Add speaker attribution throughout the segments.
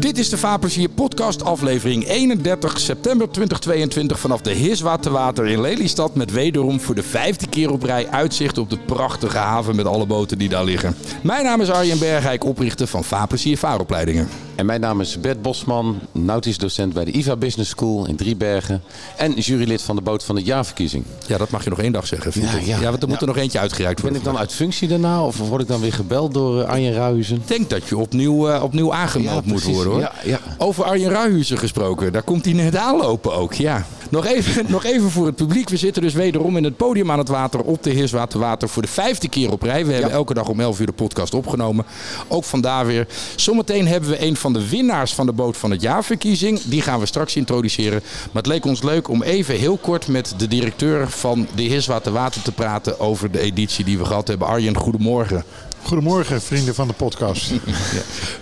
Speaker 1: Dit is de Vaarplezier podcast aflevering 31 september 2022 vanaf de Hiswa te Water in Lelystad. Met wederom voor de vijfde keer op rij uitzicht op de prachtige haven met alle boten die daar liggen. Mijn naam is Arjen Bergijk, oprichter van Vaarplezier Vaaropleidingen.
Speaker 2: En mijn naam is Bert Bosman, nautisch docent bij de IVA Business School in Driebergen. En jurylid van de Boot van het Jaarverkiezing.
Speaker 1: Ja, dat mag je nog één dag zeggen.
Speaker 2: Ja,
Speaker 1: Ja,
Speaker 2: ja.
Speaker 1: ja. want er moet er nog eentje uitgereikt
Speaker 2: Ben
Speaker 1: worden.
Speaker 2: ik dan uit functie daarna of word ik dan weer gebeld door eh, Arjen Ruizen?
Speaker 1: Ik denk dat je opnieuw, eh, opnieuw aangemeld
Speaker 2: Ja,
Speaker 1: moet
Speaker 2: precies.
Speaker 1: worden hoor.
Speaker 2: Ja, ja.
Speaker 1: Over Arjen Ruijhuizen gesproken, daar komt hij net aanlopen ook. Ja. Nog, even, nog even voor het publiek. We zitten dus wederom in het podium aan het water op de Heerswaterwater voor de vijfde keer op rij. We hebben elke dag om 11 uur de podcast opgenomen. Ook vandaar weer. Zometeen hebben we een van de winnaars van de boot van het jaarverkiezing. Die gaan we straks introduceren. Maar het leek ons leuk om even heel kort met de directeur van de Heerswaterwater te praten over de editie die we gehad hebben. Arjen, goedemorgen.
Speaker 3: Goedemorgen, vrienden van de podcast.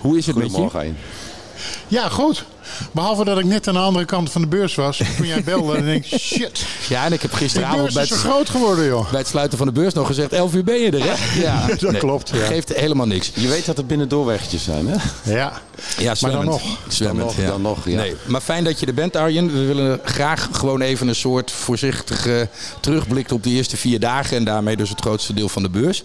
Speaker 1: Hoe is het met je?
Speaker 2: Goedemorgen Arjen.
Speaker 3: Ja, goed. Behalve dat ik net aan de andere kant van de beurs was. Toen jij belde, en denk ik, shit.
Speaker 1: Ja, en ik heb
Speaker 3: Die
Speaker 1: gisteravond
Speaker 3: beurs
Speaker 1: bij
Speaker 3: is zo
Speaker 1: het,
Speaker 3: groot geworden, joh.
Speaker 1: bij het sluiten van de beurs nog gezegd: 11 uur ben je er, hè? Ja,
Speaker 3: Dat klopt, ja.
Speaker 1: Geeft helemaal niks.
Speaker 2: Je weet dat er binnen doorwegjes zijn, hè?
Speaker 3: Ja.
Speaker 1: Ja, zwemmend.
Speaker 3: nog.
Speaker 1: Zwemmend,
Speaker 2: Dan nog,
Speaker 1: ja.
Speaker 2: dan nog, ja.
Speaker 1: Nee, maar fijn dat je er bent, Arjen. We willen graag gewoon even een soort voorzichtige terugblik op de eerste vier dagen. En daarmee dus het grootste deel van de beurs.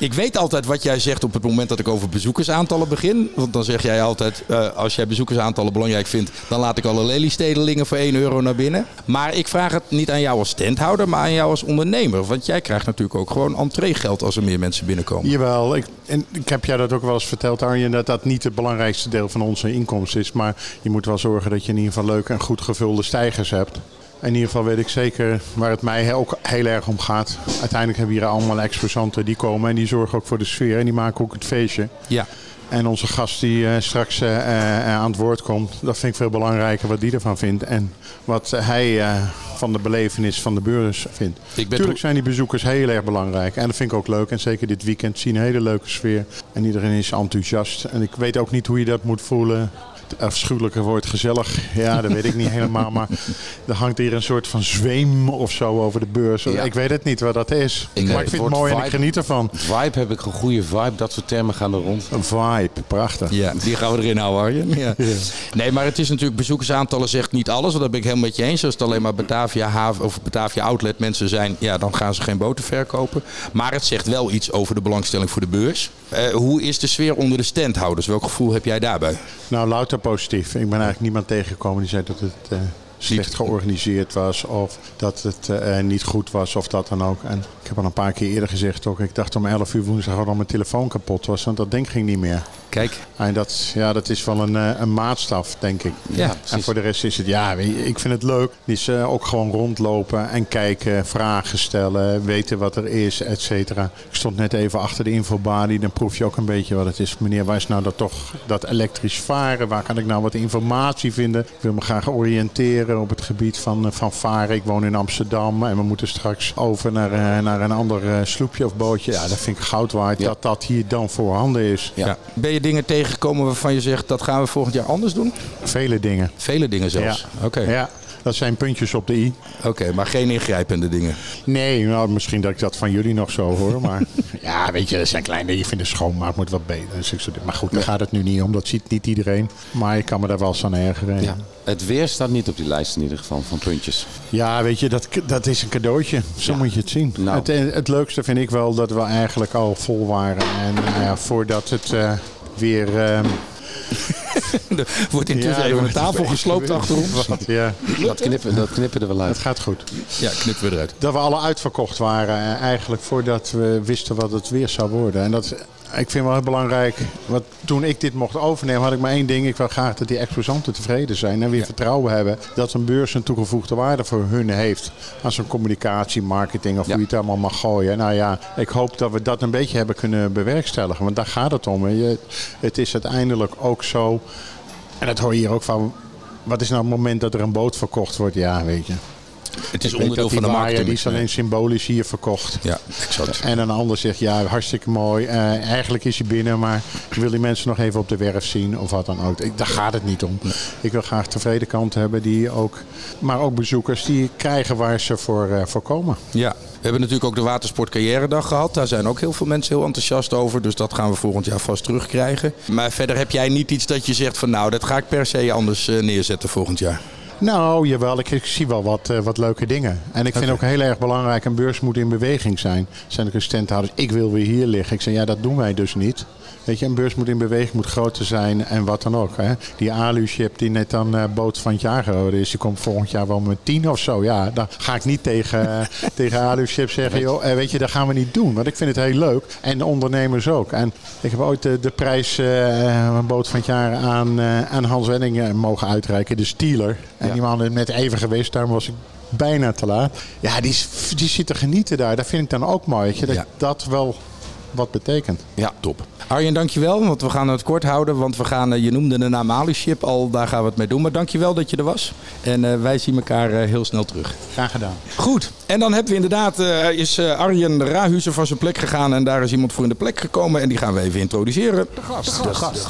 Speaker 1: Ik weet altijd wat jij zegt op het moment dat ik over bezoekersaantallen begin. Want dan zeg jij altijd, eh, als jij bezoekersaantallen belangrijk vindt... dan laat ik alle Lelystedelingen voor 1 euro naar binnen. Maar ik vraag het niet aan jou als standhouder, maar aan jou als ondernemer. Want jij krijgt natuurlijk ook gewoon entreegeld als er meer mensen binnenkomen.
Speaker 3: Jawel, ik, en ik heb jij dat ook wel eens verteld, Arjen, dat dat niet het belangrijkste deel van onze inkomsten is. Maar je moet wel zorgen dat je in ieder geval leuke en goed gevulde stijgers hebt. In ieder geval weet ik zeker waar het mij he- ook heel erg om gaat. Uiteindelijk hebben we hier allemaal exposanten die komen en die zorgen ook voor de sfeer en die maken ook het feestje.
Speaker 1: Ja.
Speaker 3: En onze gast die eh, straks eh, eh, aan het woord komt, dat vind ik veel belangrijker wat die ervan vindt. En wat hij eh, van de belevenis van de burgers vindt.
Speaker 1: ben-
Speaker 3: Natuurlijk zijn die bezoekers heel erg belangrijk. En dat vind ik ook leuk. En zeker dit weekend zie je een hele leuke sfeer. En iedereen is enthousiast. En ik weet ook niet hoe je dat moet voelen. Het afschuwelijke woord gezellig. Ja, dat weet ik niet helemaal. Maar er hangt hier een soort van zweem of zo over de beurs.
Speaker 2: Ja.
Speaker 3: Ik weet het niet wat dat is.
Speaker 1: Ik-
Speaker 3: maar
Speaker 1: het
Speaker 3: ik vind het
Speaker 2: woord
Speaker 3: mooi en ik
Speaker 2: vibe-
Speaker 3: geniet ervan.
Speaker 2: Vibe heb ik een goede vibe, dat soort termen gaan er rond.
Speaker 3: Een vibe, prachtig.
Speaker 1: Ja, die gaan we erin houden, Arjen. Ja. Nee, maar het is natuurlijk bezoekersaantallen zegt niet alles. Want daar ben ik helemaal met je eens. Als het alleen maar Batavia haven of Batavia outlet mensen zijn, ja, dan gaan ze geen boten verkopen. Maar het zegt wel iets over de belangstelling voor de beurs. Eh, hoe is de sfeer onder de standhouders? Welk gevoel heb jij daarbij?
Speaker 3: Nou, louter positief. Ik ben eigenlijk niemand tegengekomen die zei dat het eh, slecht georganiseerd was. Of dat het eh, eh, niet goed was of dat dan ook. En ik heb al een paar keer eerder gezegd ook. Ik dacht om 11 uur woensdag al dat mijn telefoon kapot was. Want dat ding ging niet meer.
Speaker 1: Kijk,
Speaker 3: Ah, En dat, ja, dat is wel een, eh, een maatstaf, denk ik.
Speaker 1: Ja,
Speaker 3: en
Speaker 2: precies.
Speaker 3: voor de rest is het, ja, weet je, ik vind het leuk. Dus eh, ook gewoon rondlopen en kijken, vragen stellen, weten wat er is, et cetera. Ik stond net even achter de infobalie, dan proef je ook een beetje wat het is. Meneer, waar is nou dat toch, dat elektrisch varen? Waar kan ik nou wat informatie vinden? Ik wil me graag oriënteren op het gebied van, eh, van varen. Ik woon in Amsterdam en we moeten straks over naar, eh, naar een ander eh, sloepje of bootje. Ja, dat vind ik goud waard
Speaker 2: Ja.
Speaker 3: dat dat hier dan voorhanden is.
Speaker 1: ja. ben je dingen tegengekomen waarvan je zegt dat gaan we volgend jaar anders doen?
Speaker 3: Vele dingen.
Speaker 1: Vele dingen zelfs. Oké,
Speaker 3: Ja, dat zijn puntjes op de i.
Speaker 1: Oké, maar geen ingrijpende dingen.
Speaker 3: Nee, nou, misschien dat ik dat van jullie nog zo hoor. Maar ja, weet je, dat zijn kleine dingen. Ik vind de schoonmaak moet wat beter. Dus ik zo- maar goed, daar gaat het nu niet om. Dat ziet niet iedereen. Maar ik kan me daar wel eens aan ergeren.
Speaker 2: Ja.
Speaker 3: Ja,
Speaker 2: Het weer staat niet op die lijst in ieder geval, van puntjes.
Speaker 3: weet je, dat, dat is een cadeautje. Zo moet je het zien.
Speaker 2: Nou.
Speaker 3: Het, het leukste vind ik wel dat we eigenlijk al vol waren. En nou ja, voordat het eh, weer... ehm,
Speaker 1: Er wordt intussen
Speaker 3: ja,
Speaker 1: even
Speaker 3: door-
Speaker 1: een tafel gesloopt achter ons.
Speaker 3: Wat, ja,
Speaker 2: Dat knippen, dat knippen er wel
Speaker 3: het
Speaker 2: uit.
Speaker 3: gaat goed.
Speaker 1: Ja, knippen we eruit.
Speaker 3: Dat we alle uitverkocht waren eh, eigenlijk voordat we wisten wat het weer zou worden. En dat, ik vind wel heel belangrijk, want toen ik dit mocht overnemen had ik maar één ding. Ik wil graag dat die exposanten tevreden zijn en weer vertrouwen hebben dat een beurs een toegevoegde waarde voor hun heeft. Aan zo'n communicatie, marketing of
Speaker 2: Ja.
Speaker 3: hoe je het allemaal mag gooien. Nou ja, ik hoop dat we dat een beetje hebben kunnen bewerkstelligen. Want daar gaat het om. Je, het is uiteindelijk ook zo, en dat hoor je hier ook van... Wat is nou het moment dat er een boot verkocht wordt? Ja, weet je.
Speaker 1: Het is
Speaker 3: Ik weet
Speaker 1: onderdeel
Speaker 3: dat die
Speaker 1: van de
Speaker 3: waaier,
Speaker 1: marketing.
Speaker 3: Die is alleen symbolisch hier verkocht.
Speaker 1: Ja, exact.
Speaker 3: En een ander zegt, ja, hartstikke mooi. eh, eigenlijk is hij binnen, maar ik wil die mensen nog even op de werf zien of wat dan ook. Ik, daar gaat het niet om. Ik wil graag tevreden kant hebben, die ook, maar ook bezoekers die krijgen waar ze voor, eh, voor komen.
Speaker 1: Ja, hebben natuurlijk ook de Watersportcarrière-dag gehad. Daar zijn ook heel veel mensen heel enthousiast over. Dus dat gaan we volgend jaar vast terugkrijgen. Maar verder heb jij niet iets dat je zegt van nou, dat ga ik per se anders eh, neerzetten volgend jaar.
Speaker 3: Nou, jawel. Ik, ik zie wel wat, eh, wat leuke dingen. En ik vind ook heel erg belangrijk, een beurs moet in beweging zijn. Zijn de standhouders, ik wil weer hier liggen. Ik zeg, ja, dat doen wij dus niet. Weet je, een beurs moet in beweging, moet groter zijn en wat dan ook. Hè. Die alu-chip die net aan eh, boot van het jaar geworden is, die komt volgend jaar wel met tien of zo. Ja, dan ga ik niet tegen, eh, tegen alu-chip zeggen, joh, eh, weet je, dat gaan we niet doen. Want ik vind het heel leuk. En de ondernemers ook. En ik heb ooit de, de prijs eh, boot van het jaar aan, eh, aan Hans Wenning eh, mogen uitreiken, de Steeler. En die man is net even geweest, daarom was ik bijna te laat. Ja, die, is- die zit te genieten daar. Dat vind ik dan ook mooi, weet je, dat
Speaker 1: Ja.
Speaker 3: dat wel wat betekent.
Speaker 1: Ja, top. Arjen, dankjewel. Want we gaan het kort houden. Want we gaan, eh, je noemde de naam Aluship al, daar gaan we het mee doen. Maar dankjewel dat je er was. En eh, wij zien elkaar eh, heel snel terug.
Speaker 3: Graag gedaan.
Speaker 1: Goed, en dan hebben we inderdaad, eh, is eh, Arjen Rahuzen van zijn plek gegaan. En daar is iemand voor in de plek gekomen. En die gaan we even introduceren.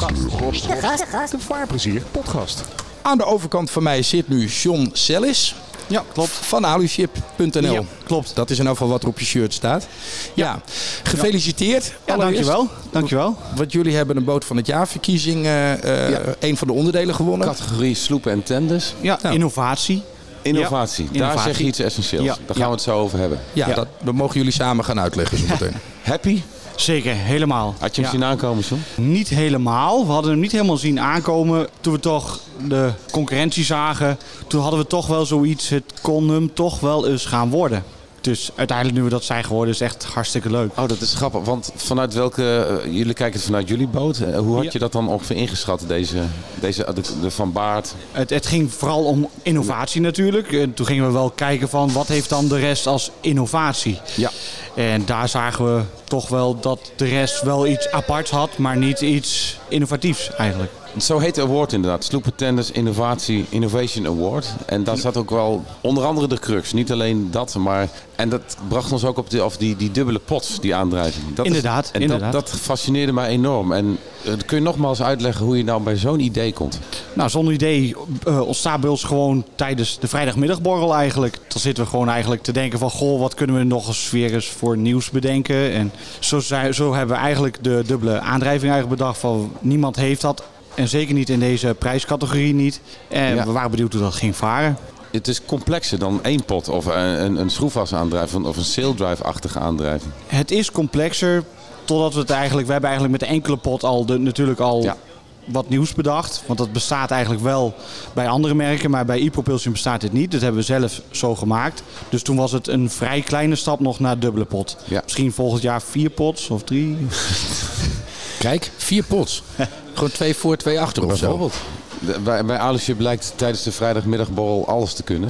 Speaker 4: De Vaarplezier podcast.
Speaker 1: Aan de overkant van mij zit nu John Sellis.
Speaker 4: Ja, klopt.
Speaker 1: Van aluship.nl.
Speaker 4: Ja, klopt.
Speaker 1: Dat is in elk geval wat er op je shirt staat. Ja, gefeliciteerd.
Speaker 4: Ja,
Speaker 1: allereerst.
Speaker 4: dankjewel. Dankjewel.
Speaker 1: Want jullie hebben een boot van het jaar verkiezing, eh, eh, een van de onderdelen gewonnen.
Speaker 2: Categorie sloepen en tenders.
Speaker 4: Ja,
Speaker 1: Nou.
Speaker 4: innovatie.
Speaker 2: Innovatie.
Speaker 4: Ja,
Speaker 2: Daar
Speaker 4: innovatie.
Speaker 2: zeg je iets essentieels.
Speaker 4: Ja.
Speaker 2: Daar gaan
Speaker 4: Ja.
Speaker 2: we het zo over hebben.
Speaker 1: Ja,
Speaker 4: Ja.
Speaker 1: Dat, dat mogen jullie samen gaan uitleggen zo meteen.
Speaker 2: Happy?
Speaker 4: Zeker, helemaal.
Speaker 2: Had je hem
Speaker 4: Ja.
Speaker 2: zien aankomen, John?
Speaker 4: Niet helemaal. We hadden hem niet helemaal zien aankomen. Toen we toch de concurrentie zagen, toen hadden we toch wel zoiets. Het kon hem toch wel eens gaan worden. Dus uiteindelijk, nu we dat zijn geworden, is echt hartstikke leuk.
Speaker 2: Oh, dat is grappig. Want vanuit welke... eh, jullie kijken het vanuit jullie boot. Eh, hoe had
Speaker 4: Ja.
Speaker 2: je dat dan ongeveer ingeschat, deze, deze de, de Van Baart?
Speaker 4: Het, het ging vooral om innovatie natuurlijk. En toen gingen we wel kijken van wat heeft dan de rest als innovatie.
Speaker 2: Ja.
Speaker 4: En daar zagen we toch wel dat de rest wel iets aparts had, maar niet iets innovatiefs eigenlijk.
Speaker 2: Zo heet de award inderdaad. Sloepen Tenders Innovatie Innovation Award. En daar zat ook wel onder andere de crux. Niet alleen dat, maar... En dat bracht ons ook op die, of die, die dubbele pot, die aandrijving. Dat
Speaker 4: Inderdaad,
Speaker 2: en dat-
Speaker 4: inderdaad.
Speaker 2: Dat, fascineerde mij enorm. En eh, kun je nogmaals uitleggen hoe je nou bij zo'n idee komt?
Speaker 4: Nou, zonder idee eh, ontstaat bij ons gewoon tijdens de vrijdagmiddagborrel eigenlijk. Dan zitten we gewoon eigenlijk te denken van... goh, wat kunnen we nog eens weer eens voor nieuws bedenken? En zo, zei- zo hebben we eigenlijk de dubbele aandrijving eigenlijk bedacht van... niemand heeft dat en zeker niet in deze prijscategorie niet. En
Speaker 2: Ja.
Speaker 4: we waren benieuwd hoe dat ging varen.
Speaker 2: Het is complexer dan één pot of een, een, een schroefwasaandrijving of een saildrive-achtige aandrijving.
Speaker 4: Het is complexer totdat we het eigenlijk... We hebben eigenlijk met de enkele pot al de, natuurlijk al
Speaker 2: Ja.
Speaker 4: wat nieuws bedacht. Want dat bestaat eigenlijk wel bij andere merken. Maar bij e-propulsion bestaat dit niet. Dat hebben we zelf zo gemaakt. Dus toen was het een vrij kleine stap nog naar dubbele pot.
Speaker 2: Ja.
Speaker 4: Misschien volgend jaar vier pots of drie.
Speaker 1: Kijk, vier pots. Gewoon twee voor, twee achter of zo.
Speaker 2: De- Bij, bij Alusje blijkt tijdens de vrijdagmiddagborrel alles te kunnen.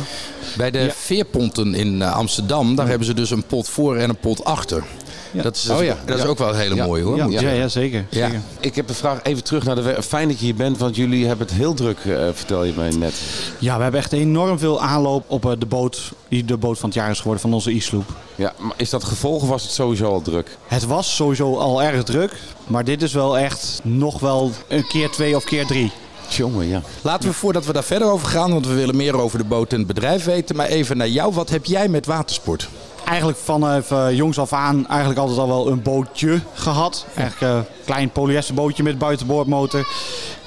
Speaker 1: Bij de veerponten in eh, Amsterdam, daar hebben ze dus een pot voor en een pot achter.
Speaker 4: Ja.
Speaker 1: Dat, is, dus-
Speaker 2: Oh ja.
Speaker 1: dat is
Speaker 2: Ja.
Speaker 1: ook wel een hele
Speaker 2: Ja.
Speaker 1: mooie hoor.
Speaker 4: Ja,
Speaker 1: Moet-
Speaker 4: ja, ja, zeker.
Speaker 1: Ja.
Speaker 4: zeker.
Speaker 2: Ik heb een vraag even terug naar de... we- Fijn dat je hier bent, want jullie hebben het heel druk, eh, vertel je mij net.
Speaker 4: ja, we hebben echt enorm veel aanloop op eh, de boot... die de boot van het jaar is geworden van onze e-sloep.
Speaker 2: Ja, maar is dat gevolg of was het sowieso al druk?
Speaker 4: Het was sowieso al erg druk. Maar dit is wel echt nog wel een keer twee of keer drie.
Speaker 2: Jongen, ja.
Speaker 1: Laten we voordat we daar verder over gaan, want we willen meer over de boot en het bedrijf weten. Maar even naar jou, wat heb jij met watersport?
Speaker 4: Eigenlijk vanaf eh, jongs af aan eigenlijk altijd al wel een bootje gehad. Eigenlijk een klein polyesterbootje met buitenboordmotor.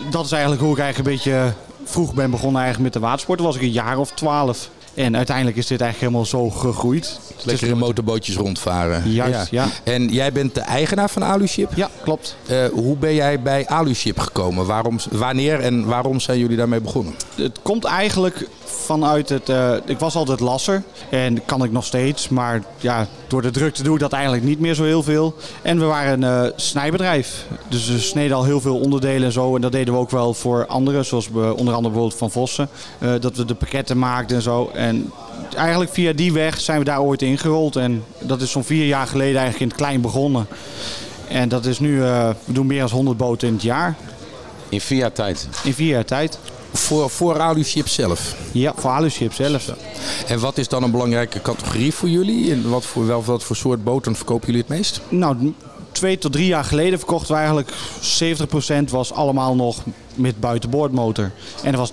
Speaker 4: Dat is eigenlijk hoe ik eigenlijk een beetje eh, vroeg ben begonnen eigenlijk met de watersport. Toen was ik een jaar of twaalf. En uiteindelijk is dit eigenlijk helemaal zo gegroeid. Dus-
Speaker 1: Lekker in motorbootjes rondvaren.
Speaker 4: Juist, ja.
Speaker 1: En jij bent de eigenaar van Aluship.
Speaker 4: Ja, klopt.
Speaker 1: Eh, hoe ben jij bij Aluship gekomen? Waarom, wanneer en waarom zijn jullie daarmee begonnen?
Speaker 4: Het komt eigenlijk vanuit het... eh, ik was altijd lasser en kan ik nog steeds. Maar ja, door de drukte doe ik dat eigenlijk niet meer zo heel veel. En we waren een eh, snijbedrijf. Dus we sneden al heel veel onderdelen en zo. En dat deden we ook wel voor anderen. Zoals we, onder andere bijvoorbeeld Van Vossen. eh, dat we de pakketten maakten en zo. En eigenlijk via die weg zijn we daar ooit ingerold. En dat is zo'n vier jaar geleden eigenlijk in het klein begonnen. En dat is nu... eh, we doen meer dan 100 boten in het jaar.
Speaker 2: In vier jaar tijd.
Speaker 4: In vier jaar tijd.
Speaker 1: Voor, voor Aluship zelf.
Speaker 4: Ja, voor Aluship zelf.
Speaker 1: En wat is dan een belangrijke categorie voor jullie? En wat voor, wel, wat voor soort boten verkopen jullie het meest?
Speaker 4: Nou, twee tot drie jaar geleden verkochten we eigenlijk 70% was allemaal nog met buitenboordmotor. En er was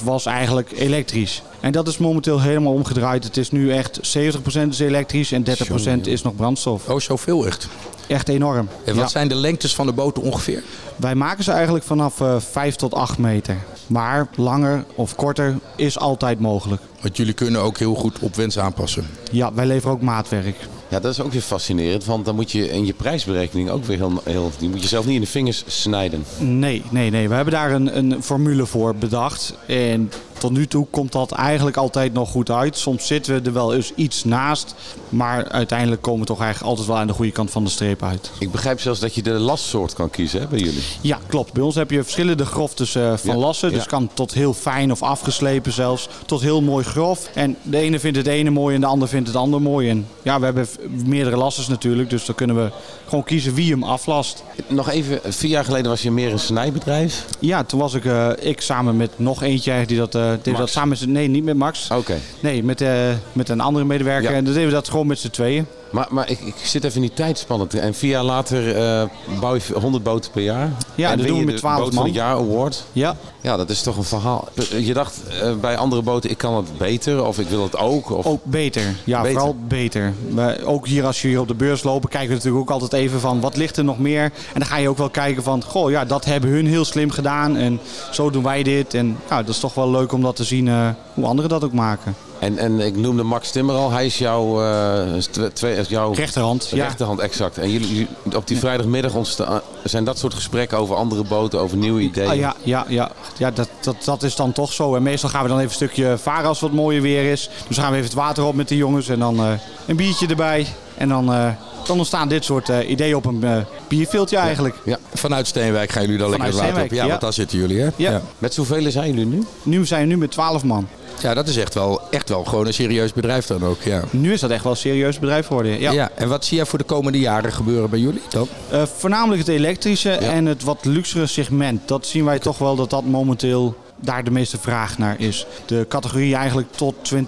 Speaker 4: 30% was eigenlijk elektrisch. En dat is momenteel helemaal omgedraaid. Het is nu echt 70% is elektrisch en 30% is nog brandstof.
Speaker 1: Oh, zoveel echt.
Speaker 4: Echt enorm.
Speaker 1: En wat
Speaker 4: Ja.
Speaker 1: zijn de lengtes van de boten ongeveer?
Speaker 4: Wij maken ze eigenlijk vanaf eh 5 tot 8 meter. Maar langer of korter is altijd mogelijk.
Speaker 1: Want jullie kunnen ook heel goed op wens aanpassen.
Speaker 4: Ja, wij leveren ook maatwerk.
Speaker 2: Ja, dat is ook weer fascinerend, want dan moet je in je prijsberekening ook weer heel, heel die moet je zelf niet in de vingers snijden.
Speaker 4: Nee, nee, nee. We hebben daar een, een formule voor bedacht. En tot nu toe komt dat eigenlijk altijd nog goed uit. Soms zitten we er wel eens iets naast. Maar uiteindelijk komen we toch eigenlijk altijd wel aan de goede kant van de streep uit.
Speaker 2: Ik begrijp zelfs dat je de lastsoort kan kiezen hè, bij jullie.
Speaker 4: Ja, klopt. Bij ons heb je verschillende groftes eh, van
Speaker 2: Ja,
Speaker 4: lassen. Dus
Speaker 2: ja.
Speaker 4: kan tot heel fijn of afgeslepen zelfs. Tot heel mooi grof. En de ene vindt het ene mooi en de ander vindt het ander mooi. En ja, we hebben v- meerdere lassers natuurlijk. Dus dan kunnen we gewoon kiezen wie hem aflast.
Speaker 2: Nog even, vier jaar geleden was je meer een snijbedrijf.
Speaker 4: Ja, toen was ik, eh, ik samen met nog eentje eigenlijk die dat... eh deed
Speaker 2: Max.
Speaker 4: dat samen met z'n- Nee, niet met Max.
Speaker 2: Oké.
Speaker 4: Nee, met, eh, met een andere medewerker.
Speaker 2: Ja.
Speaker 4: En dan deden we dat gewoon met z'n tweeën.
Speaker 2: Maar, maar ik, ik zit even in die tijdspannen. En vier jaar later eh, bouw je 100 boten per jaar.
Speaker 4: Ja,
Speaker 2: en
Speaker 4: dat
Speaker 2: win
Speaker 4: doen we
Speaker 2: je
Speaker 4: met
Speaker 2: de
Speaker 4: 12
Speaker 2: boot van het
Speaker 4: man.
Speaker 2: jaar award.
Speaker 4: Ja,
Speaker 2: Ja, dat is toch een verhaal. Je dacht eh, bij andere boten, ik kan het beter of ik wil het ook. Of...
Speaker 4: ook beter. Ja,
Speaker 2: Beter.
Speaker 4: vooral beter. We, ook hier als je hier op de beurs lopen, kijken we natuurlijk ook altijd even van wat ligt er nog meer. En dan ga je ook wel kijken van, goh ja, dat hebben hun heel slim gedaan. En zo doen wij dit. En nou, dat is toch wel leuk om dat te zien eh, hoe anderen dat ook maken.
Speaker 2: En, en ik noemde Max Timmer al, hij is jouw, eh, twe- twee, is jouw
Speaker 4: Rechterhand, ja.
Speaker 2: rechterhand, exact. En jullie, jullie- op die vrijdagmiddag ontsta- eh, zijn dat soort gesprekken over andere boten, over nieuwe ideeën.
Speaker 4: Ah, ja, ja, ja. ja dat, dat, dat is dan toch zo. En meestal gaan we dan even een stukje varen als het wat mooier weer is. Dus gaan we even het water op met de jongens en dan eh, een biertje erbij. En dan, eh, dan ontstaan dit soort eh, ideeën op een eh bierveeltje eigenlijk.
Speaker 1: Ja, vanuit Steenwijk gaan jullie dan lekker
Speaker 4: Vanuit
Speaker 1: het water op.
Speaker 4: Steenwijk,
Speaker 1: Ja,
Speaker 4: ja.
Speaker 1: want daar zitten jullie, hè?
Speaker 4: Ja.
Speaker 1: ja.
Speaker 2: Met zoveel zijn jullie nu?
Speaker 4: Nu zijn we nu met 12 man.
Speaker 1: Ja, dat is echt wel, echt wel gewoon een serieus bedrijf dan ook, ja.
Speaker 4: Nu is dat echt wel een serieus bedrijf geworden. Ja.
Speaker 1: Ja. en wat zie jij voor de komende jaren gebeuren bij jullie dan?
Speaker 4: Eh, voornamelijk het elektrische en het wat luxere segment. Dat zien wij toch wel dat dat momenteel daar de meeste vraag naar is. De categorie eigenlijk tot 20.000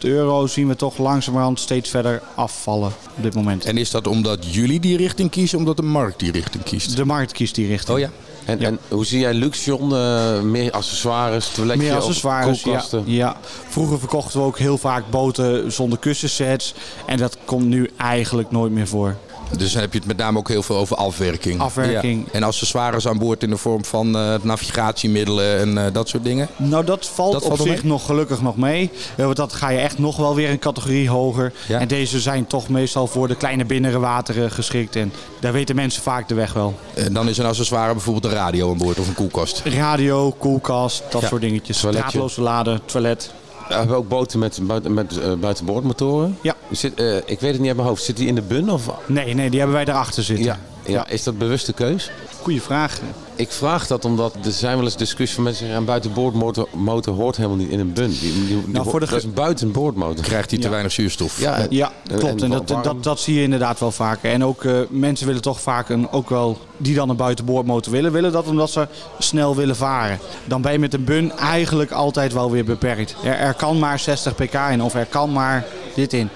Speaker 4: euro zien we toch langzamerhand steeds verder afvallen op dit moment.
Speaker 1: En is dat omdat jullie die richting kiezen, omdat de markt die richting kiest?
Speaker 4: De markt kiest die richting.
Speaker 1: Oh ja.
Speaker 2: En, en hoe zie jij Luxion? eh, meer accessoires, toiletje
Speaker 4: Meer
Speaker 2: of
Speaker 4: accessoires, ja,
Speaker 2: koelkasten?
Speaker 4: ja. Vroeger verkochten we ook heel vaak boten zonder kussensets. En dat komt nu eigenlijk nooit meer voor.
Speaker 1: Dus dan heb je het met name ook heel veel over afwerking.
Speaker 4: Afwerking.
Speaker 1: Ja. En accessoires aan boord in de vorm van eh, navigatiemiddelen en eh, dat soort dingen.
Speaker 4: Nou, dat valt
Speaker 1: Dat
Speaker 4: op
Speaker 1: valt wel
Speaker 4: zich
Speaker 1: mee?
Speaker 4: nog gelukkig nog mee. Eh, Want dat ga je echt nog wel weer een categorie hoger.
Speaker 1: Ja.
Speaker 4: En deze zijn toch meestal voor de kleine binnenwateren geschikt. En daar weten mensen vaak de weg wel.
Speaker 1: En Eh, dan is een accessoire bijvoorbeeld een radio aan boord of een koelkast.
Speaker 4: Radio, koelkast, dat
Speaker 1: Ja.
Speaker 4: soort dingetjes.
Speaker 2: Toiletje.
Speaker 4: Draadloze laden, toilet.
Speaker 2: We hebben ook boten met, buiten, met eh, buitenboordmotoren.
Speaker 4: Ja.
Speaker 2: Zit, eh, ik weet het niet uit mijn hoofd. Zit die in de bun? Of?
Speaker 4: Nee, nee, die hebben wij daarachter zitten.
Speaker 2: Ja. Ja, is dat bewuste keus?
Speaker 4: Goeie vraag.
Speaker 2: Ik vraag dat omdat er zijn wel eens discussies van mensen die zeggen... een buitenboordmotor motor hoort helemaal niet in een bun. Die, die- die-
Speaker 4: Nou, voor de
Speaker 2: dat is een buitenboordmotor.
Speaker 1: Krijgt hij te weinig zuurstof?
Speaker 2: Ja,
Speaker 4: Ja,
Speaker 2: En- en
Speaker 4: klopt. En
Speaker 2: wa-
Speaker 4: dat,
Speaker 2: waarom-
Speaker 4: dat, dat zie je inderdaad wel vaker. En ook eh, mensen willen toch vaak een, ook wel die dan een buitenboordmotor willen, willen dat omdat ze snel willen varen. Dan ben je met een bun eigenlijk altijd wel weer beperkt. Er, er kan maar 60 pk in of er kan maar dit in.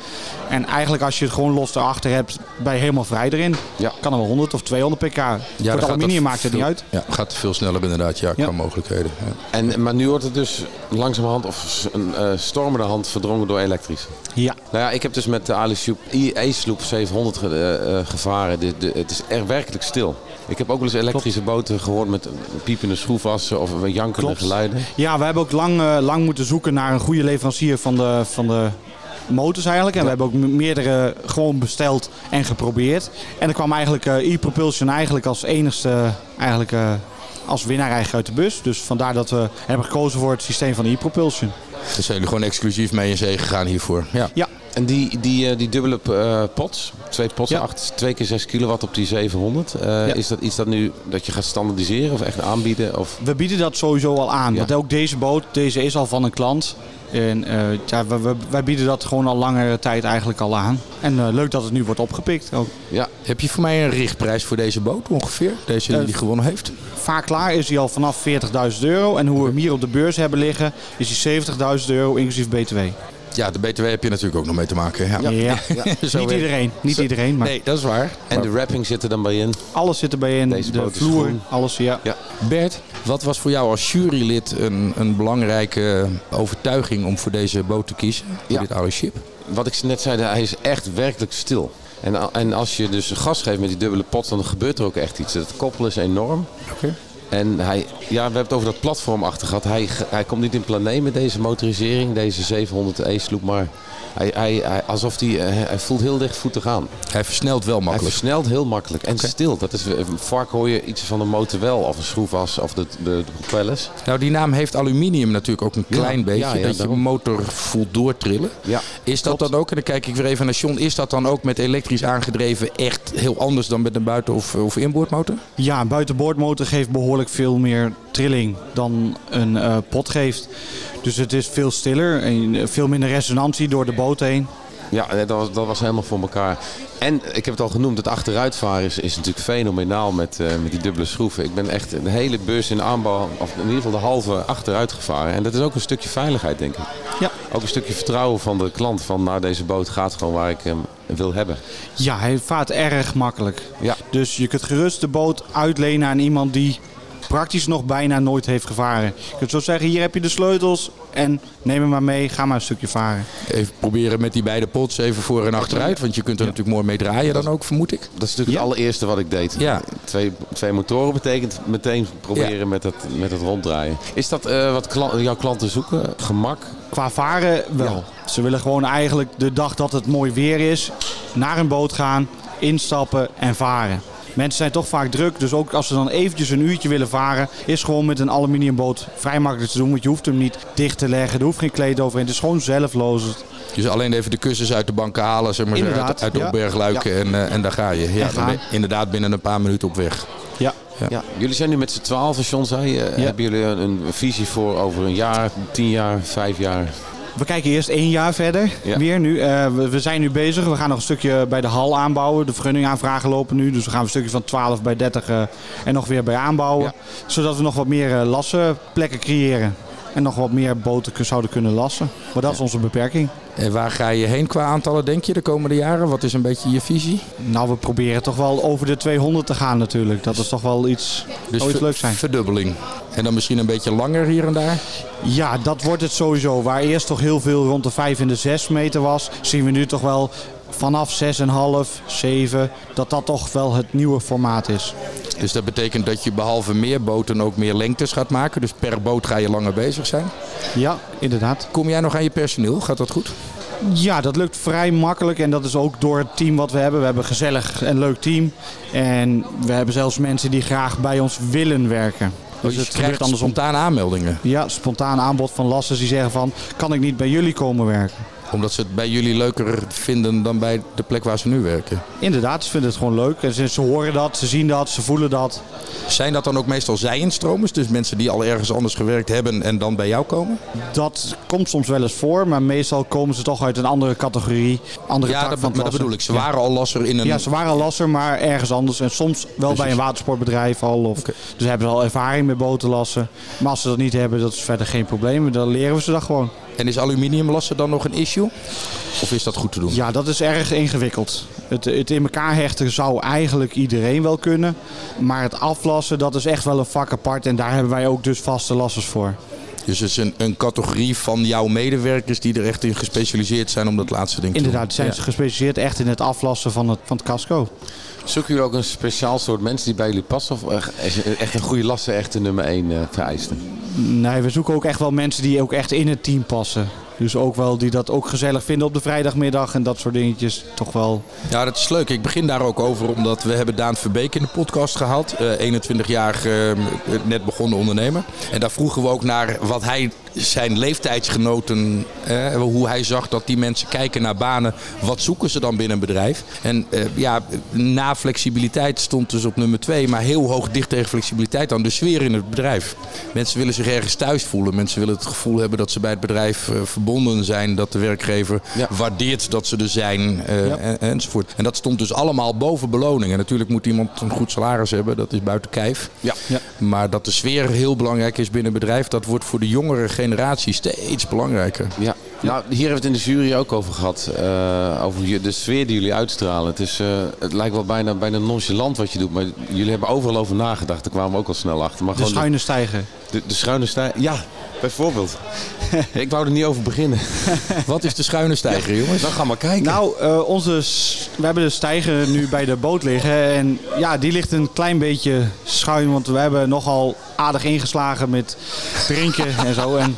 Speaker 4: En eigenlijk als je het gewoon los erachter hebt, ben je helemaal vrij erin.
Speaker 2: Ja.
Speaker 4: Kan er wel 100 of 200 pk. Voor
Speaker 1: dan
Speaker 4: het
Speaker 1: gaat dat
Speaker 4: aluminium maakt het niet
Speaker 1: veel-
Speaker 4: uit.
Speaker 1: Ja, gaat veel sneller inderdaad. Ja,
Speaker 4: Ja.
Speaker 1: qua mogelijkheden. Ja.
Speaker 2: En, maar nu wordt het dus langzamerhand of s- een eh, stormende hand verdrongen door elektrisch.
Speaker 4: Ja.
Speaker 2: Nou ja, ik heb dus met de Alishoep IE-sloep 700 E ge- eh, eh, gevaren. De, de, het is echt werkelijk stil. Ik heb ook wel eens elektrische boten gehoord met piepende schroefassen of een jankende
Speaker 4: Klopt.
Speaker 2: geluiden.
Speaker 4: Ja, we hebben ook lang, eh, lang moeten zoeken naar een goede leverancier van de, van de motors eigenlijk. En we hebben ook me- meerdere gewoon besteld en geprobeerd. En er kwam eigenlijk eh, e-propulsion eigenlijk als enigste eigenlijk, eh, als winnaar eigenlijk uit de bus. Dus vandaar dat we hebben gekozen voor het systeem van e-propulsion.
Speaker 1: Dus zijn jullie gewoon exclusief mee in zee gegaan hiervoor? Ja.
Speaker 4: Ja,
Speaker 2: En die, die, eh, die dubbele eh, pots, twee pots,
Speaker 4: Ja.
Speaker 2: acht, twee keer 6 kilowatt op die 700. eh, Is dat iets dat, nu, dat je gaat standaardiseren of echt aanbieden? Of,
Speaker 4: we bieden dat sowieso al aan.
Speaker 2: Ja.
Speaker 4: Want ook deze boot, deze is al van een klant. En eh, ja, we, we- wij bieden dat gewoon al langere tijd eigenlijk al aan. En eh, leuk dat het nu wordt opgepikt ook.
Speaker 2: ja,
Speaker 1: Heb je voor mij een richtprijs voor deze boot ongeveer? Deze die
Speaker 4: Eh,
Speaker 1: die gewonnen heeft?
Speaker 4: Vaak klaar is hij al vanaf 40.000 euro. En hoe we hem hier op de beurs hebben liggen, is die 70.000 euro inclusief BTW.
Speaker 1: Ja, de BTW heb je natuurlijk ook nog mee te maken. Ja.
Speaker 4: Ja.
Speaker 1: Zo
Speaker 4: Niet
Speaker 1: werkt-
Speaker 4: iedereen, niet iedereen, maar
Speaker 1: Nee, dat is waar.
Speaker 2: En de wrapping zit er dan bij in.
Speaker 4: alles zit erbij in.
Speaker 2: Deze
Speaker 4: de
Speaker 2: boot is
Speaker 4: vloer,
Speaker 2: groen.
Speaker 4: alles, ja.
Speaker 2: Ja.
Speaker 1: Bert, wat was voor jou als jurylid een, een belangrijke overtuiging om voor deze boot te kiezen? Voor
Speaker 2: Ja.
Speaker 1: dit oude ship?
Speaker 2: Wat ik net zei, hij is echt werkelijk stil. En, a- en als je dus gas geeft met die dubbele pot, dan gebeurt er ook echt iets. Het koppelen is enorm. En hij, ja, we hebben het over dat platform achter gehad. Hij, ge- hij komt niet in plané met deze motorisering, deze 700 E-sloep, maar hij, hij, hij- alsof hij, eh, hij voelt heel lichtvoetig aan.
Speaker 1: Hij versnelt wel
Speaker 2: Hij
Speaker 1: makkelijk.
Speaker 2: versnelt heel makkelijk en stil. Dat is, eh, vaak hoor je iets van de motor wel, of een schroefas, of de, de, de propellers.
Speaker 1: Nou, die naam heeft aluminium natuurlijk ook een
Speaker 2: Ja,
Speaker 1: klein beetje.
Speaker 2: ja, ja,
Speaker 1: dat je
Speaker 2: daarom.
Speaker 1: motor voelt doortrillen.
Speaker 2: Ja,
Speaker 1: Is dat
Speaker 2: klopt.
Speaker 1: dan ook, en dan kijk ik weer even naar John, is dat dan ook met elektrisch aangedreven echt heel anders dan met een buiten- of, of inboordmotor?
Speaker 4: Ja, een buitenboordmotor geeft behoorlijk veel meer trilling dan een eh, pot geeft. Dus het is veel stiller en eh, veel minder resonantie door de boot heen.
Speaker 2: Ja, nee, dat was, dat was helemaal voor elkaar. En ik heb het al genoemd, het achteruitvaren is, is natuurlijk fenomenaal met, eh, met die dubbele schroeven. Ik ben echt een hele beurs in de aanbouw, of in ieder geval de halve, achteruit gevaren. En dat is ook een stukje veiligheid, denk ik.
Speaker 4: Ja.
Speaker 2: Ook een stukje vertrouwen van de klant, van nou deze boot gaat gewoon waar ik hem wil hebben.
Speaker 4: Ja, hij vaart erg makkelijk.
Speaker 2: Ja.
Speaker 4: Dus je kunt gerust de boot uitlenen aan iemand die praktisch nog bijna nooit heeft gevaren. Je kunt zo zeggen, hier heb je de sleutels en neem hem maar mee, ga maar een stukje varen.
Speaker 1: Even proberen met die beide pots even voor en achteruit. Want je kunt er natuurlijk mooi mee draaien dan ook, vermoed ik.
Speaker 2: Dat is natuurlijk het allereerste wat ik deed.
Speaker 1: Ja.
Speaker 2: Twee, twee motoren betekent meteen proberen met, dat, met dat ronddraaien. Is dat eh, wat kla- jouw klanten zoeken? Gemak?
Speaker 4: Qua varen wel. Ze willen gewoon eigenlijk de dag dat het mooi weer is, naar een boot gaan, instappen en varen. Mensen zijn toch vaak druk, dus ook als ze dan eventjes een uurtje willen varen, is gewoon met een aluminiumboot vrij makkelijk te doen. Want je hoeft hem niet dicht te leggen, er hoeft geen kleed overheen, het is gewoon zelflozend.
Speaker 1: Dus alleen even de kussens uit de banken halen, zeg maar, zo, uit,
Speaker 4: Inderdaad,
Speaker 1: uit de
Speaker 4: ja.
Speaker 1: opbergluiken en, eh, en daar ga je. Ja,
Speaker 4: En
Speaker 1: dan ben je
Speaker 4: gaan.
Speaker 1: inderdaad binnen een paar minuten op weg.
Speaker 4: Ja.
Speaker 2: Ja. Jullie zijn nu met z'n twaalf, John zei je. Hebben jullie een, een visie voor over een jaar, tien jaar, vijf jaar?
Speaker 4: We kijken eerst één jaar verder.
Speaker 2: Ja.
Speaker 4: Weer nu. Eh, we, we zijn nu bezig. We gaan nog een stukje bij de hal aanbouwen. De vergunningaanvragen lopen nu. Dus we gaan een stukje van 12 bij 30 eh, en nog weer bij aanbouwen. Zodat we nog wat meer eh, lassenplekken creëren. En nog wat meer boten kun- zouden kunnen lassen. Maar dat is onze beperking.
Speaker 1: En waar ga je heen qua aantallen, denk je, de komende jaren? Wat is een beetje je visie?
Speaker 4: Nou, we proberen toch wel over de 200 te gaan natuurlijk. Dat is toch wel iets,
Speaker 1: Dus
Speaker 4: zou Oh, iets
Speaker 1: ver-
Speaker 4: leuks zijn.
Speaker 1: verdubbeling. En dan misschien een beetje langer hier en daar?
Speaker 4: Ja, dat wordt het sowieso. Waar eerst toch heel veel rond de 5 en de 6 meter was, zien we nu toch wel vanaf 6,5, 7, dat dat toch wel het nieuwe formaat is.
Speaker 1: Dus dat betekent dat je behalve meer boten ook meer lengtes gaat maken. Dus per boot ga je langer bezig zijn.
Speaker 4: Ja, inderdaad.
Speaker 1: Kom jij nog aan je personeel? Gaat dat
Speaker 4: Dus
Speaker 1: goed?
Speaker 4: Ja, dat lukt vrij makkelijk en dat is ook door het team wat we hebben. We hebben een gezellig en leuk team en we hebben zelfs mensen die graag bij ons willen werken. Dus
Speaker 1: je
Speaker 4: het
Speaker 1: krijgt
Speaker 4: gebeurt andersom.
Speaker 1: spontaan aanmeldingen.
Speaker 4: Ja, spontaan aanbod van lassers die zeggen van, kan ik niet bij jullie komen werken?
Speaker 1: Omdat ze het bij jullie leuker vinden dan bij de plek waar ze nu werken.
Speaker 4: Inderdaad, ze vinden het gewoon leuk. En ze, ze horen dat, ze zien dat, ze voelen dat.
Speaker 1: Zijn dat dan ook meestal zij-instromers? Dus mensen die al ergens anders gewerkt hebben en dan bij jou komen?
Speaker 4: Dat komt soms wel eens voor, maar meestal komen ze toch uit een andere categorie. Andere tak
Speaker 1: Ja, dat,
Speaker 4: van
Speaker 1: maar
Speaker 4: het
Speaker 1: dat
Speaker 4: lassen.
Speaker 1: bedoel ik. Ze waren al lasser in een...
Speaker 4: Ja, ze waren lasser, maar ergens anders. En soms wel bij een watersportbedrijf al. Of, Dus hebben ze al ervaring met botenlassen. Maar als ze dat niet hebben, dat is verder geen probleem. Dan leren we ze dat gewoon.
Speaker 1: En is aluminium lassen dan nog een issue? Of is dat goed te doen?
Speaker 4: Ja, dat is erg ingewikkeld. Het, het in elkaar hechten zou eigenlijk iedereen wel kunnen. Maar het aflassen, dat is echt wel een vak apart. En daar hebben wij ook dus vaste lassers voor.
Speaker 1: Dus het is een, een categorie van jouw medewerkers die er echt in gespecialiseerd zijn om dat laatste ding te doen.
Speaker 4: Inderdaad, zijn
Speaker 1: Ja.
Speaker 4: ze gespecialiseerd echt in het aflassen van het, van het casco.
Speaker 2: Zoeken jullie ook een speciaal soort mensen die bij jullie passen? Of echt- is echt een goede lassen echt de nummer één eh, vereiste?
Speaker 4: Nee, we zoeken ook echt wel mensen die ook echt in het team passen. Dus ook wel die dat ook gezellig vinden op de vrijdagmiddag en dat soort dingetjes. Toch wel.
Speaker 1: Ja, dat is leuk. Ik begin daar ook over omdat we hebben Daan Verbeek in de podcast gehad. eh 21-jarige eh, net begonnen ondernemer. En daar vroegen we ook naar wat hij zijn leeftijdsgenoten, eh, hoe hij zag dat die mensen kijken naar banen. Wat zoeken ze dan binnen een bedrijf? En eh, ja, na flexibiliteit stond dus op nummer twee, maar heel hoog dicht tegen flexibiliteit aan de sfeer in het bedrijf. Mensen willen zich ergens thuis voelen. Mensen willen het gevoel hebben dat ze bij het bedrijf eh, verbonden zijn, dat de werkgever
Speaker 2: Ja.
Speaker 1: waardeert dat ze er zijn eh, en, enzovoort. En dat stond dus allemaal boven beloning. En natuurlijk moet iemand een goed salaris hebben, dat is buiten kijf.
Speaker 2: Ja.
Speaker 1: Maar dat de sfeer heel belangrijk is binnen het bedrijf, dat wordt voor de jongere generatie steeds belangrijker.
Speaker 2: Ja, nou, hier hebben we het in de jury ook over gehad. eh, over je- de sfeer die jullie uitstralen. Het, is, eh, het lijkt wel bijna, bijna nonchalant wat je doet. Maar jullie hebben overal over nagedacht. Daar kwamen we ook al snel achter. Maar
Speaker 4: De
Speaker 2: gewoon
Speaker 4: schuine stijger.
Speaker 2: de, de schuine stijl. Ja, bijvoorbeeld. Ik wou er niet over beginnen.
Speaker 1: Wat is de schuine stijger, jongens?
Speaker 2: Dan gaan we kijken.
Speaker 4: Nou, eh, onze s- we hebben de stijger nu bij de boot liggen. En ja, die ligt een klein beetje schuin. Want we hebben nogal aardig ingeslagen met drinken en zo. En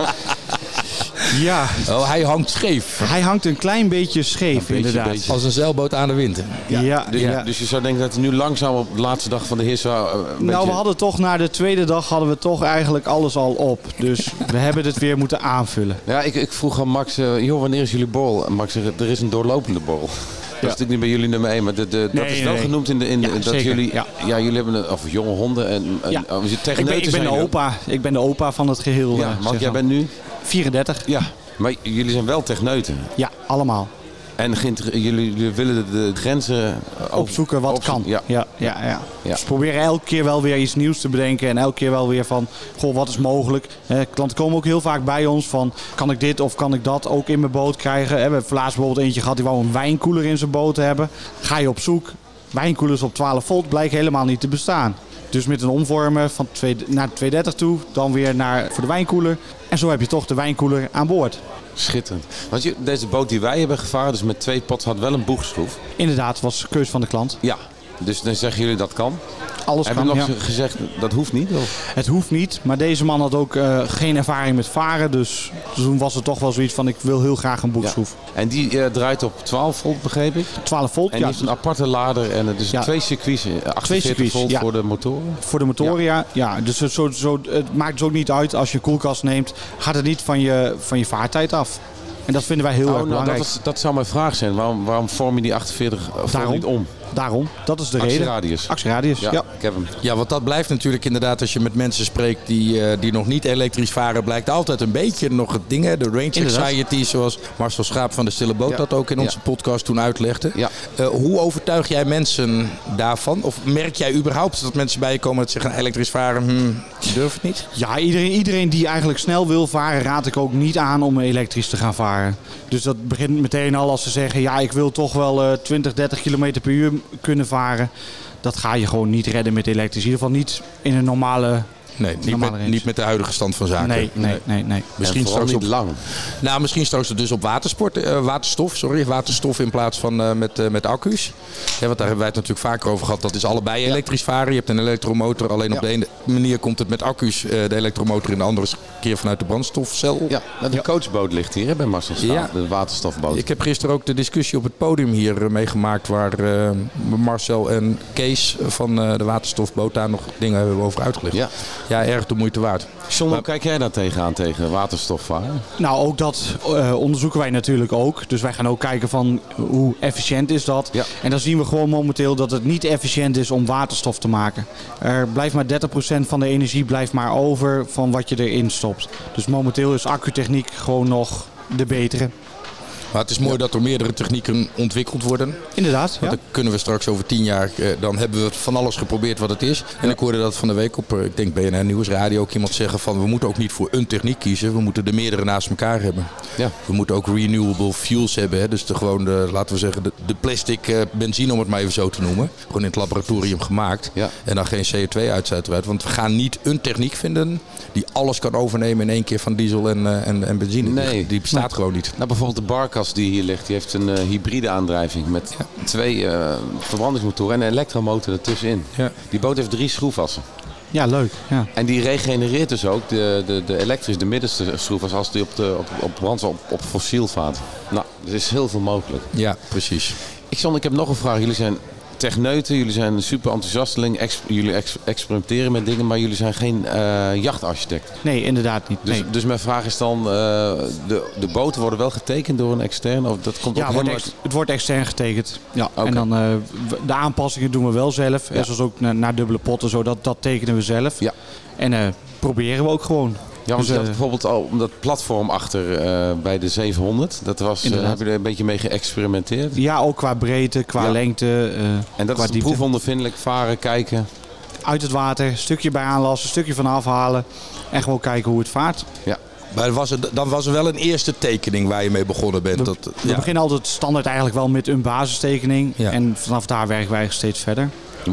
Speaker 4: ja,
Speaker 1: Oh, hij hangt scheef.
Speaker 4: hij hangt een klein beetje scheef,
Speaker 2: beetje,
Speaker 4: inderdaad.
Speaker 2: beetje.
Speaker 1: Als een zeilboot aan de wind.
Speaker 4: Ja,
Speaker 2: dus,
Speaker 4: ja.
Speaker 2: dus je zou denken dat hij nu langzaam op de laatste dag van de heer zou... eh, een
Speaker 4: Nou, we
Speaker 2: beetje-
Speaker 4: hadden toch na de tweede dag hadden we toch eigenlijk alles al op. Dus we hebben het weer moeten aanvullen.
Speaker 2: Ja, ik, ik vroeg aan Max, eh, joh, wanneer is jullie borrel? En Max zegt, er is een doorlopende borrel. Dat is natuurlijk niet bij jullie nummer 1, maar de, de, dat
Speaker 4: Nee,
Speaker 2: is
Speaker 4: nee,
Speaker 2: wel
Speaker 4: nee.
Speaker 2: genoemd in de... In de-
Speaker 4: Ja,
Speaker 2: dat
Speaker 4: zeker,
Speaker 2: jullie,
Speaker 4: ja.
Speaker 2: ja. jullie hebben een, of jonge honden en... en
Speaker 4: Ja.
Speaker 2: oh, we zitten tegen
Speaker 4: Ik ben,
Speaker 2: neuten
Speaker 4: ik ben de
Speaker 2: zijn,
Speaker 4: opa. Ik ben de opa van het geheel.
Speaker 2: joh. Ja,
Speaker 4: eh,
Speaker 2: Max,
Speaker 4: zeg
Speaker 2: jij
Speaker 4: maar.
Speaker 2: bent nu...
Speaker 4: 34.
Speaker 2: Ja, maar j- jullie zijn wel techneuten.
Speaker 4: Ja, allemaal.
Speaker 2: En geïnter- jullie, jullie willen de, de grenzen... eh, op-
Speaker 4: opzoeken wat
Speaker 2: opzoeken.
Speaker 4: kan.
Speaker 2: Ja.
Speaker 4: Ja, ja, ja.
Speaker 2: Ja.
Speaker 4: Dus proberen elke keer wel weer iets nieuws te bedenken. En elke keer wel weer van, goh, wat is mogelijk? Eh, klanten komen ook heel vaak bij ons van, kan ik dit of kan ik dat ook in mijn boot krijgen? Eh, we hebben laatst bijvoorbeeld eentje gehad, die wou een wijnkoeler in zijn boot hebben. Ga je op zoek, wijnkoelers op 12 volt blijken helemaal niet te bestaan. Dus met een omvormen van twee, naar 230 toe, dan weer naar, voor de wijnkoeler. En zo heb je toch de wijnkoeler aan boord.
Speaker 2: Schitterend. Want je- deze boot die wij hebben gevaren, dus met twee pots, had wel een boegschroef.
Speaker 4: Inderdaad, was de keus van de klant.
Speaker 2: Ja. Dus dan zeggen jullie dat kan.
Speaker 4: Alles
Speaker 2: Hebben
Speaker 4: kan,
Speaker 2: nog
Speaker 4: ja.
Speaker 2: ge- gezegd, dat hoeft niet? Of?
Speaker 4: Het hoeft niet, maar deze man had ook eh, geen ervaring met varen. Dus toen was het toch wel zoiets van ik wil heel graag een
Speaker 2: Ja.
Speaker 4: boekschroef.
Speaker 2: En die eh, draait op 12 volt, begreep ik.
Speaker 4: 12 volt,
Speaker 2: En
Speaker 4: ja,
Speaker 2: die heeft een aparte lader en het is
Speaker 4: Ja.
Speaker 2: twee circuits, eh, 48
Speaker 4: circuits,
Speaker 2: volt
Speaker 4: ja.
Speaker 2: voor de motoren.
Speaker 4: voor de motoren. Ja. Ja, dus het, zo, zo, het maakt dus ook niet uit als je een koelkast neemt, gaat het niet van je, van je vaartijd af. En dat vinden wij heel
Speaker 2: Oh,
Speaker 4: erg
Speaker 2: nou, dat,
Speaker 4: belangrijk.
Speaker 2: is- dat zou mijn vraag zijn. Waarom, waarom vorm je die 48 volt
Speaker 4: Daarom.
Speaker 2: niet om?
Speaker 4: Daarom, dat is de reden.
Speaker 2: Actieradius.
Speaker 4: Actieradius,
Speaker 2: Ja,
Speaker 4: ja.
Speaker 2: ik heb hem.
Speaker 1: Ja, want dat blijft natuurlijk inderdaad als je met mensen spreekt die, eh, die nog niet elektrisch varen, blijkt altijd een beetje nog het ding. hè, De Range
Speaker 4: Inderdaad.
Speaker 1: Anxiety, zoals Marcel Schaap van de Stille Boot
Speaker 2: Ja.
Speaker 1: dat ook in onze
Speaker 2: Ja.
Speaker 1: podcast toen uitlegde.
Speaker 2: Ja.
Speaker 1: Eh, hoe overtuig jij mensen daarvan? Of merk jij überhaupt dat mensen bij je komen dat zeggen elektrisch varen, hmm, je durft het niet?
Speaker 4: Ja, iedereen, iedereen die eigenlijk snel wil varen, raad ik ook niet aan om elektrisch te gaan varen. Dus dat begint meteen al als ze zeggen, ja, ik wil toch wel eh, 20, 30 kilometer per uur kunnen varen. Dat ga je gewoon niet redden met elektrisch. In ieder geval niet in een normale...
Speaker 1: Nee, niet
Speaker 4: Normale
Speaker 1: met,
Speaker 4: range.
Speaker 1: niet met de huidige stand van zaken.
Speaker 4: Nee, nee, nee, nee.
Speaker 1: Misschien
Speaker 2: en vooral
Speaker 1: straks op
Speaker 2: niet lang.
Speaker 1: Nou, misschien straks dus op watersport, eh, waterstof, sorry, waterstof in plaats van eh, met, eh, met accu's. Ja, want daar hebben wij het natuurlijk vaker over gehad. Dat is allebei elektrisch varen. Je hebt een elektromotor, alleen op de ene manier komt het met accu's eh, de elektromotor in de andere keer vanuit de brandstofcel.
Speaker 2: Ja, nou, de coachboot ligt hier hè, bij Marcel Staal,
Speaker 1: Ja.
Speaker 2: de waterstofboot.
Speaker 1: Ik heb gisteren ook de discussie op het podium hier eh, meegemaakt waar eh, Marcel en Kees van eh, de waterstofboot daar nog dingen hebben over uitgelegd.
Speaker 2: Ja.
Speaker 1: ja, erg de moeite waard.
Speaker 2: John, hoe kijk jij daar tegenaan, tegen waterstofvaren?
Speaker 4: Nou, ook dat eh, onderzoeken wij natuurlijk ook. Dus wij gaan ook kijken van hoe efficiënt is dat.
Speaker 2: Ja.
Speaker 4: En dan zien we gewoon momenteel dat het niet efficiënt is om waterstof te maken. Er blijft maar 30% van de energie blijft maar over van wat je erin stopt. Dus momenteel is accutechniek gewoon nog de betere.
Speaker 1: Maar het is mooi dat er meerdere technieken ontwikkeld worden.
Speaker 4: Inderdaad. Ja?
Speaker 1: Dan kunnen we straks over tien jaar, eh, dan hebben we van alles geprobeerd wat het is. En ik hoorde dat van de week op, eh, ik denk BNR Nieuwsradio, ook iemand zeggen van we moeten ook niet voor een techniek kiezen. We moeten de meerdere naast elkaar hebben.
Speaker 2: Ja.
Speaker 1: We moeten ook renewable fuels hebben. Hè? Dus de, gewoon de, laten we zeggen, de, de plastic eh, benzine om het maar even zo te noemen. Gewoon in het laboratorium gemaakt.
Speaker 2: Ja.
Speaker 1: En dan geen CO2 uit uiteraard. Want we gaan niet een techniek vinden die alles kan overnemen in één keer van diesel en, eh, en, en benzine. Die-
Speaker 2: Nee.
Speaker 1: Die bestaat gewoon niet.
Speaker 2: Nou, bijvoorbeeld de barkas die hier ligt, die heeft een eh, hybride aandrijving met twee eh, verbrandingsmotoren en een elektromotor ertussenin.
Speaker 1: Ja.
Speaker 2: Die boot heeft drie schroefassen.
Speaker 4: ja, leuk. Ja.
Speaker 2: En die regenereert dus ook de, de, de elektrische, de middenste schroefassen als die op, de, op, op, brandstof- op, op fossiel vaart. Nou, er is heel veel mogelijk.
Speaker 1: Ja, precies.
Speaker 2: Ik, John, ik heb nog een vraag. Jullie zijn techneuten, jullie zijn super enthousiasteling, ex- jullie ex- experimenteren met dingen, maar jullie zijn geen eh, jachtarchitect.
Speaker 4: Nee, inderdaad niet.
Speaker 2: Dus,
Speaker 4: nee.
Speaker 2: dus mijn vraag is dan, eh, de, de boten worden wel getekend door een externe? Of dat komt ook
Speaker 4: Ja, wordt
Speaker 2: helemaal
Speaker 4: ex- het wordt extern getekend. Ja,
Speaker 2: oké.
Speaker 4: En dan eh, w- de aanpassingen doen we wel zelf.
Speaker 2: Ja.
Speaker 4: Zoals ook na- naar, dubbele potten, zo, dat, dat tekenen we zelf.
Speaker 2: Ja.
Speaker 4: En eh, proberen we ook gewoon.
Speaker 2: Ja, want
Speaker 4: Dus,
Speaker 2: je had
Speaker 4: eh,
Speaker 2: bijvoorbeeld al dat platform achter eh, bij de 700. Dat was, eh,
Speaker 4: Inderdaad.
Speaker 2: heb je er een beetje mee geëxperimenteerd.
Speaker 4: Ja, ook qua breedte, qua
Speaker 2: Ja.
Speaker 4: lengte. eh,
Speaker 2: En dat
Speaker 4: qua
Speaker 2: is een
Speaker 4: diepte.
Speaker 2: proefondervindelijk varen, kijken.
Speaker 4: Uit het water, stukje bij aanlassen, stukje van afhalen. En gewoon kijken hoe het vaart.
Speaker 2: Ja.
Speaker 1: Maar was het, dan was er wel een eerste tekening waar je mee begonnen bent. dat,
Speaker 4: We beginnen altijd standaard eigenlijk wel met een basistekening.
Speaker 1: Ja.
Speaker 4: En vanaf daar werken wij steeds verder.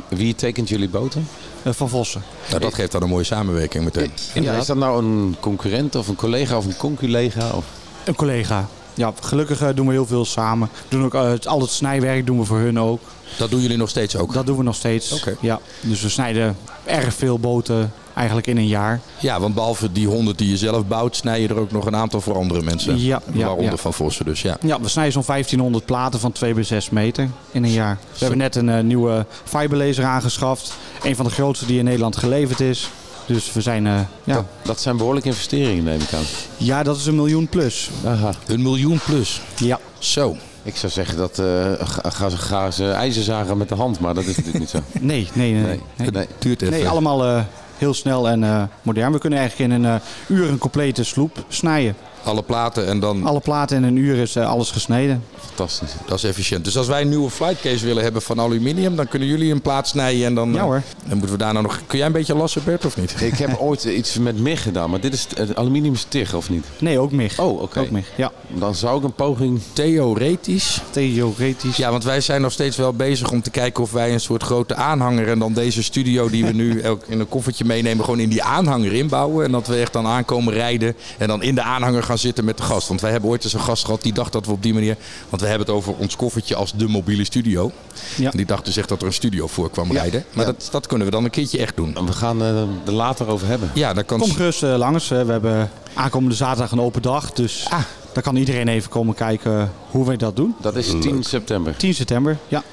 Speaker 2: Wie tekent jullie boten?
Speaker 4: Eh, van Vossen.
Speaker 1: Nou, dat geeft dan een mooie samenwerking meteen.
Speaker 2: Ja, is dat nou een concurrent of een collega of een conculega? Of...
Speaker 4: Een collega. Ja, gelukkig eh, doen we heel veel samen. We Doen ook, eh, het- al het snijwerk doen we voor hun ook.
Speaker 1: Dat doen jullie nog steeds ook.
Speaker 4: Dat doen we nog steeds.
Speaker 1: Oké.
Speaker 4: Ja, dus we snijden erg veel boten eigenlijk in een jaar.
Speaker 1: Ja, want behalve die honderd die je zelf bouwt, snij je er ook nog een aantal voor andere mensen.
Speaker 4: Ja, ja,
Speaker 1: Waaronder
Speaker 4: ja.
Speaker 1: van Vossen dus, ja.
Speaker 4: Ja, we snijden zo'n 1500 platen van 2 bij 6 meter in een jaar. We hebben net een eh, nieuwe fiberlaser aangeschaft. Een van de grootste die in Nederland geleverd is. Dus we zijn... eh, ja.
Speaker 2: Dat, dat zijn behoorlijke investeringen, neem ik aan.
Speaker 4: ja, dat is een miljoen plus.
Speaker 2: Aha.
Speaker 1: Een miljoen plus.
Speaker 4: Ja.
Speaker 1: Zo.
Speaker 2: Ik zou zeggen dat eh, ga, ga ze, ga ze ijzer zagen met de hand, maar dat is natuurlijk niet zo.
Speaker 4: Nee, nee, nee.
Speaker 2: Nee.
Speaker 4: nee.
Speaker 2: Nee.
Speaker 1: Duurt even.
Speaker 4: Nee, allemaal eh, heel snel en eh, modern. We kunnen eigenlijk in een eh, uur een complete sloep snijden.
Speaker 1: Alle platen en dan...
Speaker 4: Alle platen in een uur is eh, alles gesneden.
Speaker 2: Fantastisch.
Speaker 1: Dat is efficiënt. Dus als wij een nieuwe flightcase willen hebben van aluminium, dan kunnen jullie een plaat snijden en dan...
Speaker 4: Ja,
Speaker 1: eh,
Speaker 4: hoor.
Speaker 1: Dan moeten we daarna nog... Kun jij een beetje lassen, Bert, of niet?
Speaker 2: Ik heb ooit iets met MIG gedaan, maar dit is t- het aluminium stig, of niet?
Speaker 4: Nee, ook MIG.
Speaker 2: Oh, oké.
Speaker 4: Ook MIG, ja.
Speaker 2: Dan zou ik een poging...
Speaker 1: Theoretisch.
Speaker 4: Theoretisch.
Speaker 1: Ja, want wij zijn nog steeds wel bezig om te kijken of wij een soort grote aanhanger en dan deze studio die we nu elk in een koffertje meenemen, gewoon in die aanhanger inbouwen. En dat we echt dan aankomen rijden en dan in de aanhanger gaan zitten met de gast. Want wij hebben ooit eens een gast gehad die dacht dat we op die manier, want we hebben het over ons koffertje als de mobiele studio.
Speaker 4: Ja.
Speaker 1: En die dacht dus echt dat er een studio voor kwam
Speaker 2: Ja,
Speaker 1: rijden. Maar
Speaker 2: ja.
Speaker 1: dat, dat kunnen we dan een keertje echt doen.
Speaker 2: We gaan eh, er later over hebben.
Speaker 1: Ja, dan kan
Speaker 4: Kom gerust eh, langs. Eh, we hebben aankomende zaterdag een open dag. Dus
Speaker 1: Ah.
Speaker 4: dan kan iedereen even komen kijken hoe wij dat doen.
Speaker 2: Dat is 10 september.
Speaker 4: 10 september. Ja,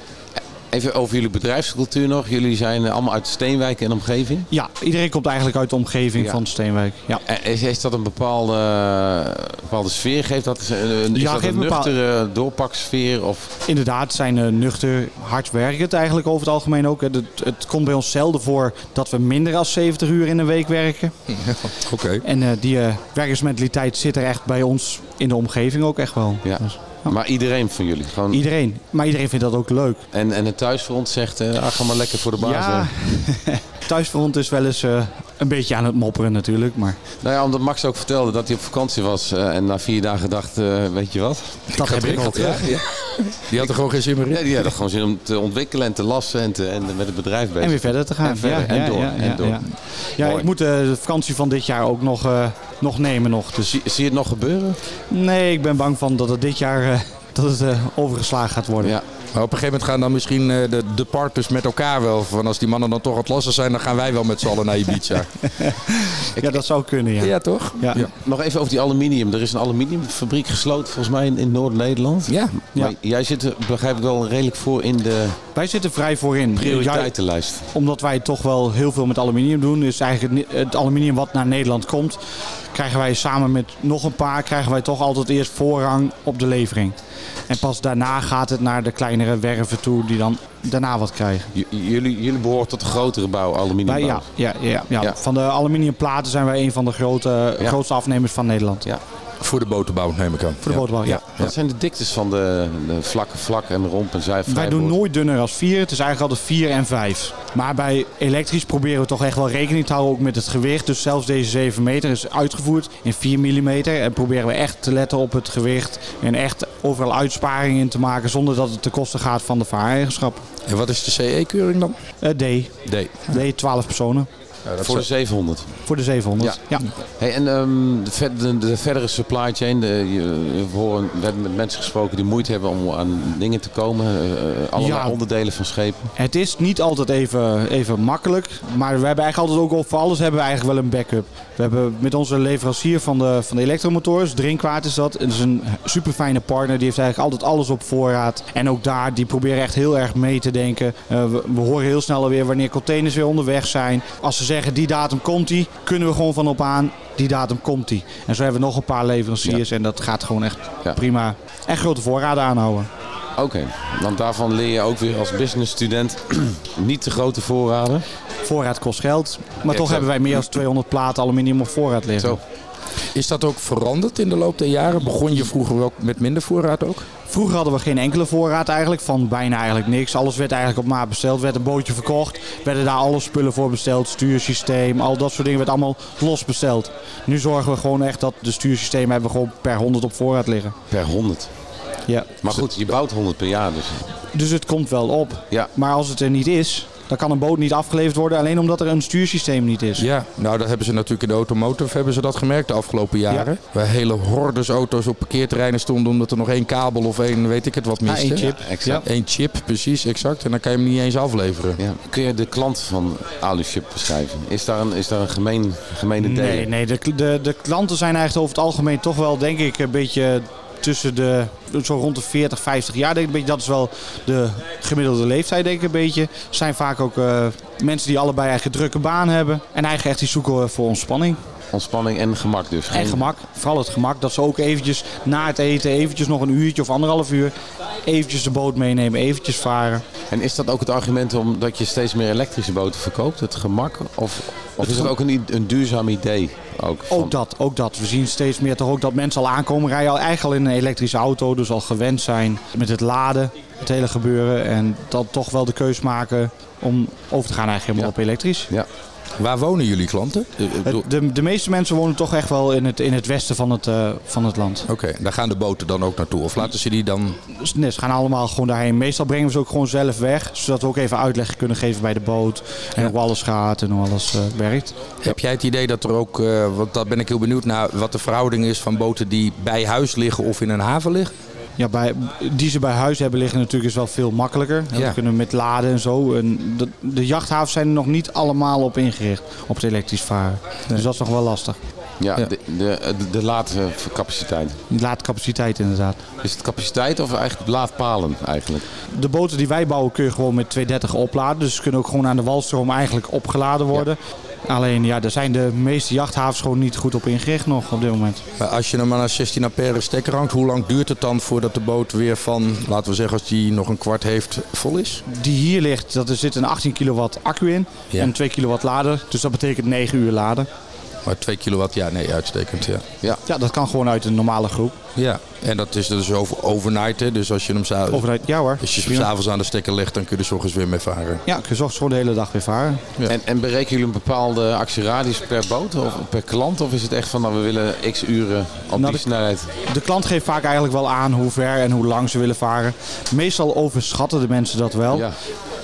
Speaker 2: Even over jullie bedrijfscultuur nog. Jullie zijn eh, allemaal uit Steenwijk en omgeving.
Speaker 4: ja iedereen komt eigenlijk uit de omgeving
Speaker 2: Ja.
Speaker 4: van Steenwijk. Ja.
Speaker 2: Eh, Is, is dat een bepaalde, eh, bepaalde sfeer? Geeft dat een, een, is
Speaker 4: Ja,
Speaker 2: dat
Speaker 4: geeft
Speaker 2: een
Speaker 4: een bepaalde-
Speaker 2: nuchtere doorpaksfeer? Of,
Speaker 4: Inderdaad, ze zijn eh, nuchter, hardwerkend eigenlijk over het algemeen ook. Het, het komt bij ons zelden voor dat we minder dan 70 uur in een week werken.
Speaker 1: Oké.
Speaker 4: En eh, die eh, werkersmentaliteit zit er echt bij ons in de omgeving ook echt wel.
Speaker 2: ja.
Speaker 4: Dus
Speaker 2: Maar iedereen van jullie? Gewoon,
Speaker 4: iedereen. Maar iedereen vindt dat ook leuk.
Speaker 2: en, en het thuisfront zegt, eh, ah, ga maar lekker voor de baas.
Speaker 4: Ja,
Speaker 2: eh.
Speaker 4: thuisfront is wel eens eh, een beetje aan het mopperen natuurlijk. Maar
Speaker 2: Nou ja, omdat Max ook vertelde dat hij op vakantie was eh, en na vier dagen dacht, eh, weet je wat?
Speaker 4: dat heb ik
Speaker 1: Ja,
Speaker 4: ook.
Speaker 1: ja. Die had er gewoon geen zin meer in.
Speaker 2: Ja, die hadden gewoon zin om te ontwikkelen en te lassen en, te, en met het bedrijf bezig.
Speaker 4: En weer verder te gaan.
Speaker 2: En verder, en door, en door.
Speaker 4: Ja, Ja,
Speaker 2: Mooi.
Speaker 4: ik moet eh, de vakantie van dit jaar ook nog, eh, nog nemen. Nog, dus
Speaker 2: Zie, zie je het nog gebeuren?
Speaker 4: Nee, ik ben bang van dat het dit jaar eh, dat het, eh, overgeslagen gaat worden.
Speaker 2: Ja.
Speaker 1: Maar op een gegeven moment gaan dan misschien eh, de, de partners met elkaar wel. Van als die mannen dan toch aan het lassen zijn, dan gaan wij wel met z'n allen naar Ibiza.
Speaker 4: Ja, dat zou kunnen, ja.
Speaker 1: ja, toch?
Speaker 4: Ja.
Speaker 1: ja.
Speaker 2: Nog even over die aluminium. Er is een aluminiumfabriek gesloten volgens mij in, in Noord-Nederland.
Speaker 1: Ja.
Speaker 4: Ja.
Speaker 2: Maar jij zit er, begrijp ik wel, redelijk voor in de
Speaker 4: Wij zitten vrij voorin.
Speaker 2: prioriteitenlijst.
Speaker 4: Ja, omdat wij toch wel heel veel met aluminium doen, is eigenlijk het, ni- het aluminium wat naar Nederland komt, krijgen wij samen met nog een paar, krijgen wij toch altijd eerst voorrang op de levering. En pas daarna gaat het naar de kleinere werven toe, die dan daarna wat krijgen.
Speaker 2: J- jullie, jullie behoort tot de grotere bouw, aluminiumbouw.
Speaker 4: Wij, ja, ja, ja, ja.
Speaker 2: Ja.
Speaker 4: Van de aluminiumplaten zijn wij een van de grote, eh,
Speaker 2: Ja.
Speaker 4: grootste afnemers van Nederland.
Speaker 2: Ja.
Speaker 1: Voor de boterbouw neem ik aan.
Speaker 4: Voor de
Speaker 1: ja.
Speaker 4: boterbouw, ja.
Speaker 2: Wat zijn de diktes van de, de vlakke vlak en romp en zij
Speaker 4: Wij doen nooit dunner als 4. Het is eigenlijk altijd 4 en 5. Maar bij elektrisch proberen we toch echt wel rekening te houden ook met het gewicht. Dus zelfs deze 7 meter is uitgevoerd in 4 mm. En proberen we echt te letten op het gewicht. En echt overal uitsparingen in te maken zonder dat het ten koste gaat van de vaareigenschap.
Speaker 1: En wat is de CE-keuring dan?
Speaker 4: Eh, D.
Speaker 1: Nee.
Speaker 4: D 12 personen
Speaker 2: voor de 700.
Speaker 4: voor de 700. Ja.
Speaker 2: Hey, en ehm, de, ver- de- de verdere supply chain, de, je- je horen- we hebben met mensen gesproken die moeite hebben om aan dingen te komen. eh, eh, allerlei
Speaker 4: Ja.
Speaker 2: onderdelen van schepen.
Speaker 4: Het is niet altijd even, even makkelijk. Maar we hebben eigenlijk altijd ook al- voor alles hebben we eigenlijk wel een backup. We hebben met onze leverancier van de, van de elektromotoren, Drinkwaard is dat. En dat is een super fijne partner. Die heeft eigenlijk altijd alles op voorraad. En ook daar, die proberen echt heel erg mee te denken. Eh, we, we horen heel snel alweer wanneer containers weer onderweg zijn. Als ze zeggen die datum komt die, kunnen we gewoon van op aan. Die datum komt die. En zo hebben we nog een paar leveranciers. En dat gaat gewoon echt
Speaker 2: Ja.
Speaker 4: prima. En grote voorraden aanhouden.
Speaker 2: Oké, want daarvan leer je ook weer als business student niet te grote voorraden.
Speaker 4: Voorraad kost geld. Maar toch
Speaker 2: exact.
Speaker 4: hebben wij meer dan 200 platen aluminium op voorraad liggen.
Speaker 2: Zo.
Speaker 1: Is dat ook veranderd in de loop der jaren? Begon je vroeger wel met minder voorraad ook?
Speaker 4: Vroeger hadden we geen enkele voorraad eigenlijk, van bijna eigenlijk niks. Alles werd eigenlijk op maat besteld, werd een bootje verkocht, werden daar alle spullen voor besteld, stuursysteem, al dat soort dingen werd allemaal los besteld. Nu zorgen we gewoon echt dat de stuursystemen hebben we gewoon per 100 op voorraad liggen.
Speaker 2: Per 100.
Speaker 4: Ja.
Speaker 2: Maar goed, je bouwt 100 per jaar. Dus.
Speaker 4: Dus het komt wel op.
Speaker 2: Ja.
Speaker 4: Maar als het er niet is, dan kan een boot niet afgeleverd worden alleen omdat er een stuursysteem niet is.
Speaker 1: Ja, nou dat hebben ze natuurlijk in de automotive hebben ze dat gemerkt de afgelopen jaren. Waar hele hordes auto's op parkeerterreinen stonden omdat er nog één kabel of één weet ik het wat miste.
Speaker 4: Ah, één chip.
Speaker 2: Exact.
Speaker 1: Eén chip, precies, exact. En dan kan je hem niet eens afleveren.
Speaker 2: Ja. Kun je de klant van Aluship beschrijven? Is daar een, is daar een gemeen, gemene deel?
Speaker 4: Nee, nee de, de, de klanten zijn eigenlijk over het algemeen toch wel, denk ik, een beetje tussen de, zo rond de 40, 50 jaar. Denk ik, een beetje, dat is wel de gemiddelde leeftijd, denk ik, een beetje. Zijn vaak ook eh, mensen die allebei eigenlijk een drukke baan hebben. En eigenlijk echt die zoeken eh, voor ontspanning
Speaker 2: Ontspanning en gemak dus. Geen-
Speaker 4: en gemak. Vooral het gemak, dat ze ook eventjes na het eten, eventjes nog een uurtje of anderhalf uur, eventjes de boot meenemen, eventjes varen.
Speaker 2: En is dat ook het argument omdat je steeds meer elektrische boten verkoopt? Het gemak? Of, of is dat ook een, i- een duurzaam idee? Ook, van-
Speaker 4: Ook Oh, dat, ook dat. We zien steeds meer toch ook dat mensen al aankomen rijden. Al eigenlijk al in een elektrische auto, dus al gewend zijn met het laden, het hele gebeuren. En dan toch wel de keus maken om over te gaan eigenlijk helemaal op elektrisch.
Speaker 2: Ja.
Speaker 1: Waar wonen jullie klanten? Eh, eh,
Speaker 4: Het-
Speaker 1: do-
Speaker 4: de, de meeste mensen wonen toch echt wel in het, in het westen van het, eh, van het land.
Speaker 1: Oké, daar gaan de boten dan ook naartoe. Of laten ze die dan...
Speaker 4: Dus nee, ze gaan allemaal gewoon daarheen. Meestal brengen we ze ook gewoon zelf weg, zodat we ook even uitleg kunnen geven bij de boot. En hoe alles gaat en hoe alles eh, werkt.
Speaker 1: Heb jij het idee dat er ook... eh, want daar ben ik heel benieuwd naar... wat de verhouding is van boten die bij huis liggen of in een haven liggen?
Speaker 4: Ja, bij, die ze bij huis hebben liggen natuurlijk is wel veel makkelijker.
Speaker 1: Ja.
Speaker 4: Dat kunnen we met laden en zo. En de, de jachthavens zijn er nog niet allemaal op ingericht, op het elektrisch varen. Dus dat is nog wel lastig.
Speaker 2: Ja,
Speaker 1: Ja.
Speaker 2: De, de, de, de laadcapaciteit.
Speaker 4: Die laadcapaciteit inderdaad.
Speaker 2: Is het capaciteit of eigenlijk laadpalen eigenlijk?
Speaker 4: De boten die wij bouwen kun je gewoon met 230 opladen. Dus ze kunnen ook gewoon aan de walstroom eigenlijk opgeladen worden. Alleen ja, daar zijn de meeste jachthavens gewoon niet goed op ingericht nog op dit moment.
Speaker 1: Maar als je hem aan een 16 ampère stekker hangt... hoe lang duurt het dan voordat de boot weer van... laten we zeggen als die nog een kwart heeft, vol is?
Speaker 4: Die hier ligt, dat er zit een 18 kilowatt accu in
Speaker 1: Ja.
Speaker 4: en 2 kilowatt lader. Dus dat betekent 9 uur laden.
Speaker 1: Maar 2 kilowatt, ja, nee, uitstekend, ja.
Speaker 4: Ja, dat kan gewoon uit een normale groep.
Speaker 1: Ja, en dat is dus over, overnight, hè? Dus als je hem zou...
Speaker 4: Of uit, ja hoor.
Speaker 1: Als je hem
Speaker 4: Prima.
Speaker 1: s'avonds aan de stekker legt, dan kun je er 's ochtends weer mee varen.
Speaker 4: Ja, ik zorg gewoon de hele dag weer varen.
Speaker 1: Ja.
Speaker 2: En, en berekenen jullie een bepaalde actieradius per boot of per klant? Of is het echt van, nou, we willen x uren op
Speaker 4: Nou,
Speaker 2: die
Speaker 4: dat-
Speaker 2: snelheid?
Speaker 4: De klant geeft vaak eigenlijk wel aan hoe ver en hoe lang ze willen varen. Meestal overschatten de mensen dat wel.
Speaker 2: Ja.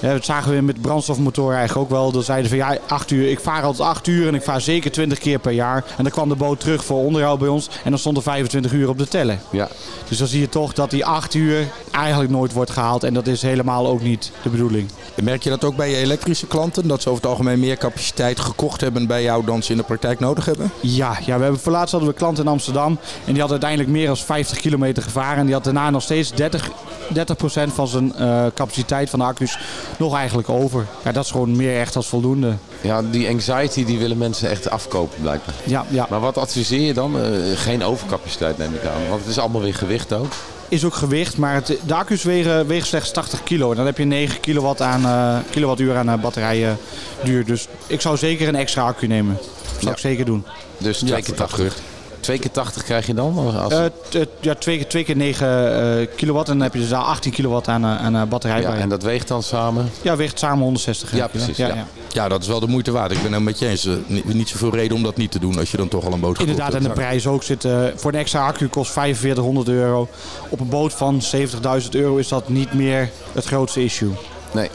Speaker 4: Ja, dat zagen we met brandstofmotoren eigenlijk ook wel. Dan zeiden ze van ja, acht uur. Ik vaar altijd acht uur en ik vaar zeker 20 keer per jaar. En dan kwam de boot terug voor onderhoud bij ons. En dan stond er 25 uur op de teller.
Speaker 2: Ja.
Speaker 4: Dus dan zie je toch dat die acht uur eigenlijk nooit wordt gehaald. En dat is helemaal ook niet de bedoeling.
Speaker 1: Merk je dat ook bij je elektrische klanten? Dat ze over het algemeen meer capaciteit gekocht hebben bij jou dan ze in de praktijk nodig hebben?
Speaker 4: Ja, ja we hebben, voor laatst hadden we een klant in Amsterdam. En die had uiteindelijk meer dan 50 kilometer gevaren. En die had daarna nog steeds 30, 30% van zijn eh, capaciteit van de accu's nog eigenlijk over. Ja, dat is gewoon meer echt als voldoende.
Speaker 2: ja, die anxiety die willen mensen echt afkopen blijkbaar.
Speaker 4: Ja, ja.
Speaker 2: Maar wat adviseer je dan? Eh, geen overcapaciteit neem ik aan. Want het is allemaal weer gewicht ook.
Speaker 4: Is ook gewicht, maar het, de accu's wegen, wegen slechts 80 kilo. En dan heb je 9 kilowatt aan, eh, kilowattuur aan eh, batterijen duur. Dus ik zou zeker een extra accu nemen. Dat zou ik zeker doen.
Speaker 2: Dus twee keer 80. Twee keer 80 krijg je dan? Als,
Speaker 4: Eh, t- eh, ja, twee, keer- twee keer 9 eh, kilowatt. En dan heb je dus daar 18 kilowatt aan, eh, aan eh, batterij.
Speaker 2: ja,
Speaker 4: bij.
Speaker 2: en dat weegt dan samen?
Speaker 4: Ja, weegt samen 160
Speaker 2: Ja,
Speaker 4: kilo.
Speaker 2: precies, ja.
Speaker 1: Ja, dat is wel de moeite waard. Ik ben het met je eens. Eh, Niet, niet zoveel reden om dat niet te doen als je dan toch al een boot gekocht
Speaker 4: Inderdaad, en
Speaker 1: hebt.
Speaker 4: de prijs ook zit. eh, voor een extra accu kost 4500 euro. Op een boot van 70.000 euro is dat niet meer het grootste issue.
Speaker 2: Nee.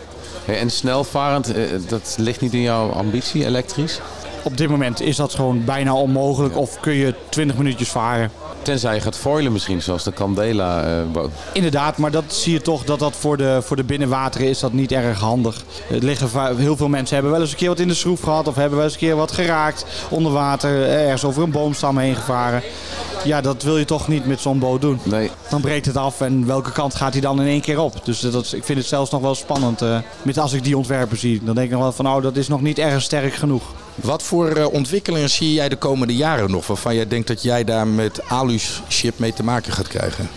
Speaker 2: Hey, en snelvarend, eh, dat ligt niet in jouw ambitie, elektrisch?
Speaker 4: Op dit moment is dat gewoon bijna onmogelijk. Of kun je 20 minuutjes varen.
Speaker 2: Tenzij je gaat foilen misschien, zoals de Candela. eh, boot.
Speaker 4: Inderdaad, maar dat zie je toch dat dat voor de, voor de binnenwateren is dat niet erg handig. Het liggen va- heel veel mensen hebben wel eens een keer wat in de schroef gehad of hebben wel eens een keer wat geraakt onder water, eh, ergens over een boomstam heen gevaren. Ja, dat wil je toch niet met zo'n boot doen.
Speaker 2: nee.
Speaker 4: Dan breekt het af en welke kant gaat hij dan in één keer op? Dus dat, is- ik vind het zelfs nog wel spannend. eh, met als ik die ontwerpen zie, dan denk ik nog wel van, oh, dat is nog niet erg sterk genoeg.
Speaker 1: Wat voor eh, ontwikkelingen zie jij de komende jaren nog? Waarvan jij denkt dat jij daar met Alu's chip mee te maken gaat krijgen?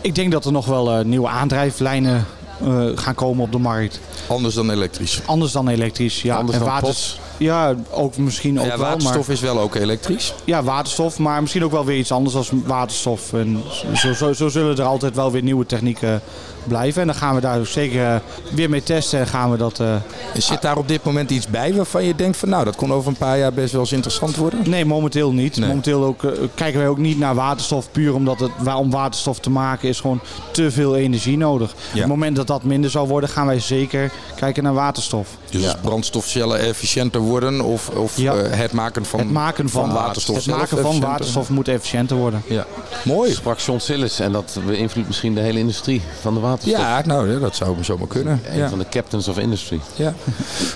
Speaker 4: Ik denk dat er nog wel eh, nieuwe aandrijflijnen eh, gaan komen op de markt.
Speaker 1: Anders dan elektrisch.
Speaker 4: Anders dan elektrisch. Ja.
Speaker 2: Anders
Speaker 4: en
Speaker 2: dan
Speaker 4: waters-
Speaker 2: pots.
Speaker 4: Ja, ook misschien ook
Speaker 1: ja,
Speaker 4: wel. Maar,
Speaker 1: waterstof is wel ook elektrisch.
Speaker 4: ja, waterstof. Maar misschien ook wel weer iets anders als waterstof. En zo, zo, zo zullen er altijd wel weer nieuwe technieken blijven. En dan gaan we daar ook zeker eh, weer mee testen. En gaan we dat... eh,
Speaker 1: Zit daar op dit moment iets bij waarvan je denkt van nou, dat kon over een paar jaar best wel eens interessant worden?
Speaker 4: Nee, momenteel niet.
Speaker 1: Nee.
Speaker 4: Momenteel ook, eh, kijken wij ook niet naar waterstof puur omdat het wa- om waterstof te maken is gewoon te veel energie nodig. Op het moment dat dat minder zou worden, gaan wij zeker kijken naar waterstof.
Speaker 1: Dus als brandstofcellen efficiënter worden of, of
Speaker 4: Ja.
Speaker 1: eh, het maken van,
Speaker 4: het maken van,
Speaker 1: waterstof.
Speaker 4: Het
Speaker 1: zelf
Speaker 4: maken van
Speaker 1: efficiënter?
Speaker 4: waterstof moet efficiënter worden.
Speaker 1: Ja. Mooi.
Speaker 2: Sprak John Sillis en dat beïnvloedt misschien de hele industrie van de waterstof.
Speaker 1: Ja, nou, ja, dat zou zomaar kunnen.
Speaker 2: Een
Speaker 1: Ja.
Speaker 2: van de captains of industry.
Speaker 1: Ja.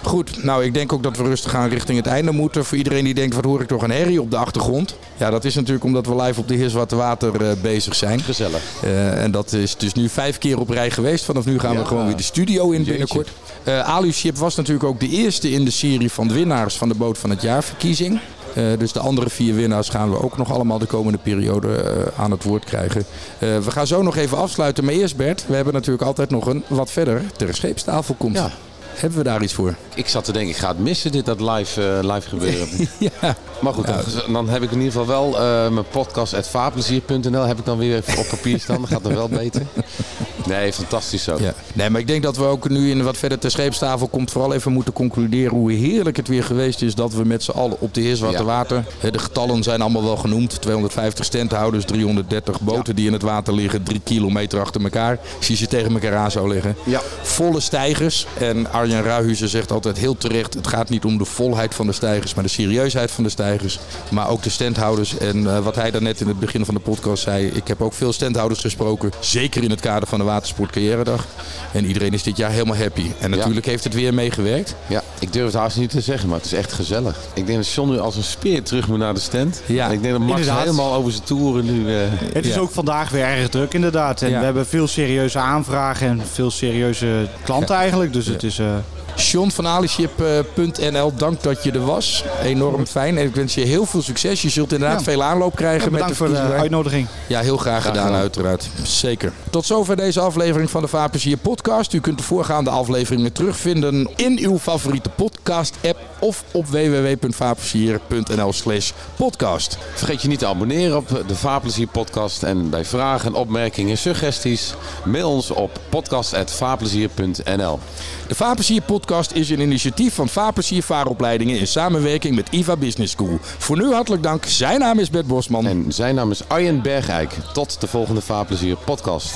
Speaker 1: Goed, nou ik denk ook dat we rustig aan richting het einde moeten. Voor iedereen die denkt, wat hoor ik toch een herrie op de achtergrond? Ja, dat is natuurlijk omdat we live op de Heer Zwarte Water eh, bezig zijn.
Speaker 2: Gezellig.
Speaker 1: Eh, en dat is dus nu vijf keer op rij geweest. Vanaf nu gaan we
Speaker 2: Ja.
Speaker 1: gewoon weer de studio in
Speaker 2: Jeetje.
Speaker 1: binnenkort. Eh Alu Ship was natuurlijk ook de eerste in de serie van de winnaars van de Boot van het Jaar verkiezing. Eh, dus de andere vier winnaars gaan we ook nog allemaal de komende periode eh, aan het woord krijgen. Eh, we gaan zo nog even afsluiten. Maar eerst Bert, we hebben natuurlijk altijd nog een wat verder ter scheepstafel komt.
Speaker 2: Ja.
Speaker 1: Hebben we daar iets voor?
Speaker 2: Ik zat te denken, ik ga het missen, dit dat live, eh, live gebeuren.
Speaker 1: ja.
Speaker 2: Maar goed, dan, dan heb ik in ieder geval wel eh, mijn podcast at vaarplezier.nl heb ik dan weer even op papier staan. Dat gaat dan wel beter. Nee, fantastisch zo.
Speaker 1: Ja. Nee, maar ik denk dat we ook nu in wat verder ter scheepstafel komt vooral even moeten concluderen hoe heerlijk het weer geweest is dat we met z'n allen op de Heer Zwarte
Speaker 2: Ja.
Speaker 1: Water. hè, De getallen zijn allemaal wel genoemd. 250 standhouders, 330 boten die in het water liggen, drie kilometer achter elkaar. Als je ze tegen elkaar aan zou liggen.
Speaker 2: Ja.
Speaker 1: Volle stijgers. En Arjen Ruijhuizen zegt altijd heel terecht, het gaat niet om de volheid van de stijgers, maar de serieusheid van de stijgers. Maar ook de standhouders. En eh, wat hij daarnet in het begin van de podcast zei, ik heb ook veel standhouders gesproken. Zeker in het kader van de Watersport Carrièredag. En iedereen is dit jaar helemaal happy. En natuurlijk heeft het weer meegewerkt.
Speaker 2: Ja, ik durf het haast niet te zeggen, maar het is echt gezellig. Ik denk dat John nu als een speer terug moet naar de stand.
Speaker 1: Ja.
Speaker 2: En ik denk dat Max
Speaker 4: Inderdaad.
Speaker 2: helemaal over zijn toeren nu... eh,
Speaker 4: Het is
Speaker 1: Ja.
Speaker 4: ook vandaag weer erg druk inderdaad. En
Speaker 1: Ja.
Speaker 4: we hebben veel serieuze aanvragen en veel serieuze klanten eigenlijk. Dus het is... eh,
Speaker 1: Sean van eh, Aliship.nl, dank dat je er was. Enorm fijn. En ik wens je heel veel succes. Je zult inderdaad
Speaker 4: Ja.
Speaker 1: veel aanloop krijgen met
Speaker 4: bedankt
Speaker 1: de
Speaker 4: voor eh, de
Speaker 1: verkiezingen.
Speaker 4: uitnodiging.
Speaker 1: Ja, heel graag gedaan,
Speaker 2: gedaan.
Speaker 1: uiteraard. Zeker. Tot zover deze aflevering van de Vaarplezier podcast. U kunt de voorgaande afleveringen terugvinden in uw favoriete podcast-app of op www.vaarplezier.nl slash podcast.
Speaker 2: Vergeet je niet te abonneren op de Vaarplezier podcast. En bij vragen, opmerkingen, suggesties... mail ons op podcast.vaarplezier.nl
Speaker 1: De Vaarplezier podcast is een initiatief van Vaarplezier Vaaropleidingen in samenwerking met IVA Business School. Voor nu hartelijk dank. Zijn naam is Bert Bosman.
Speaker 2: En zijn naam is Arjen Bergijk. Tot de volgende Vaarplezier podcast.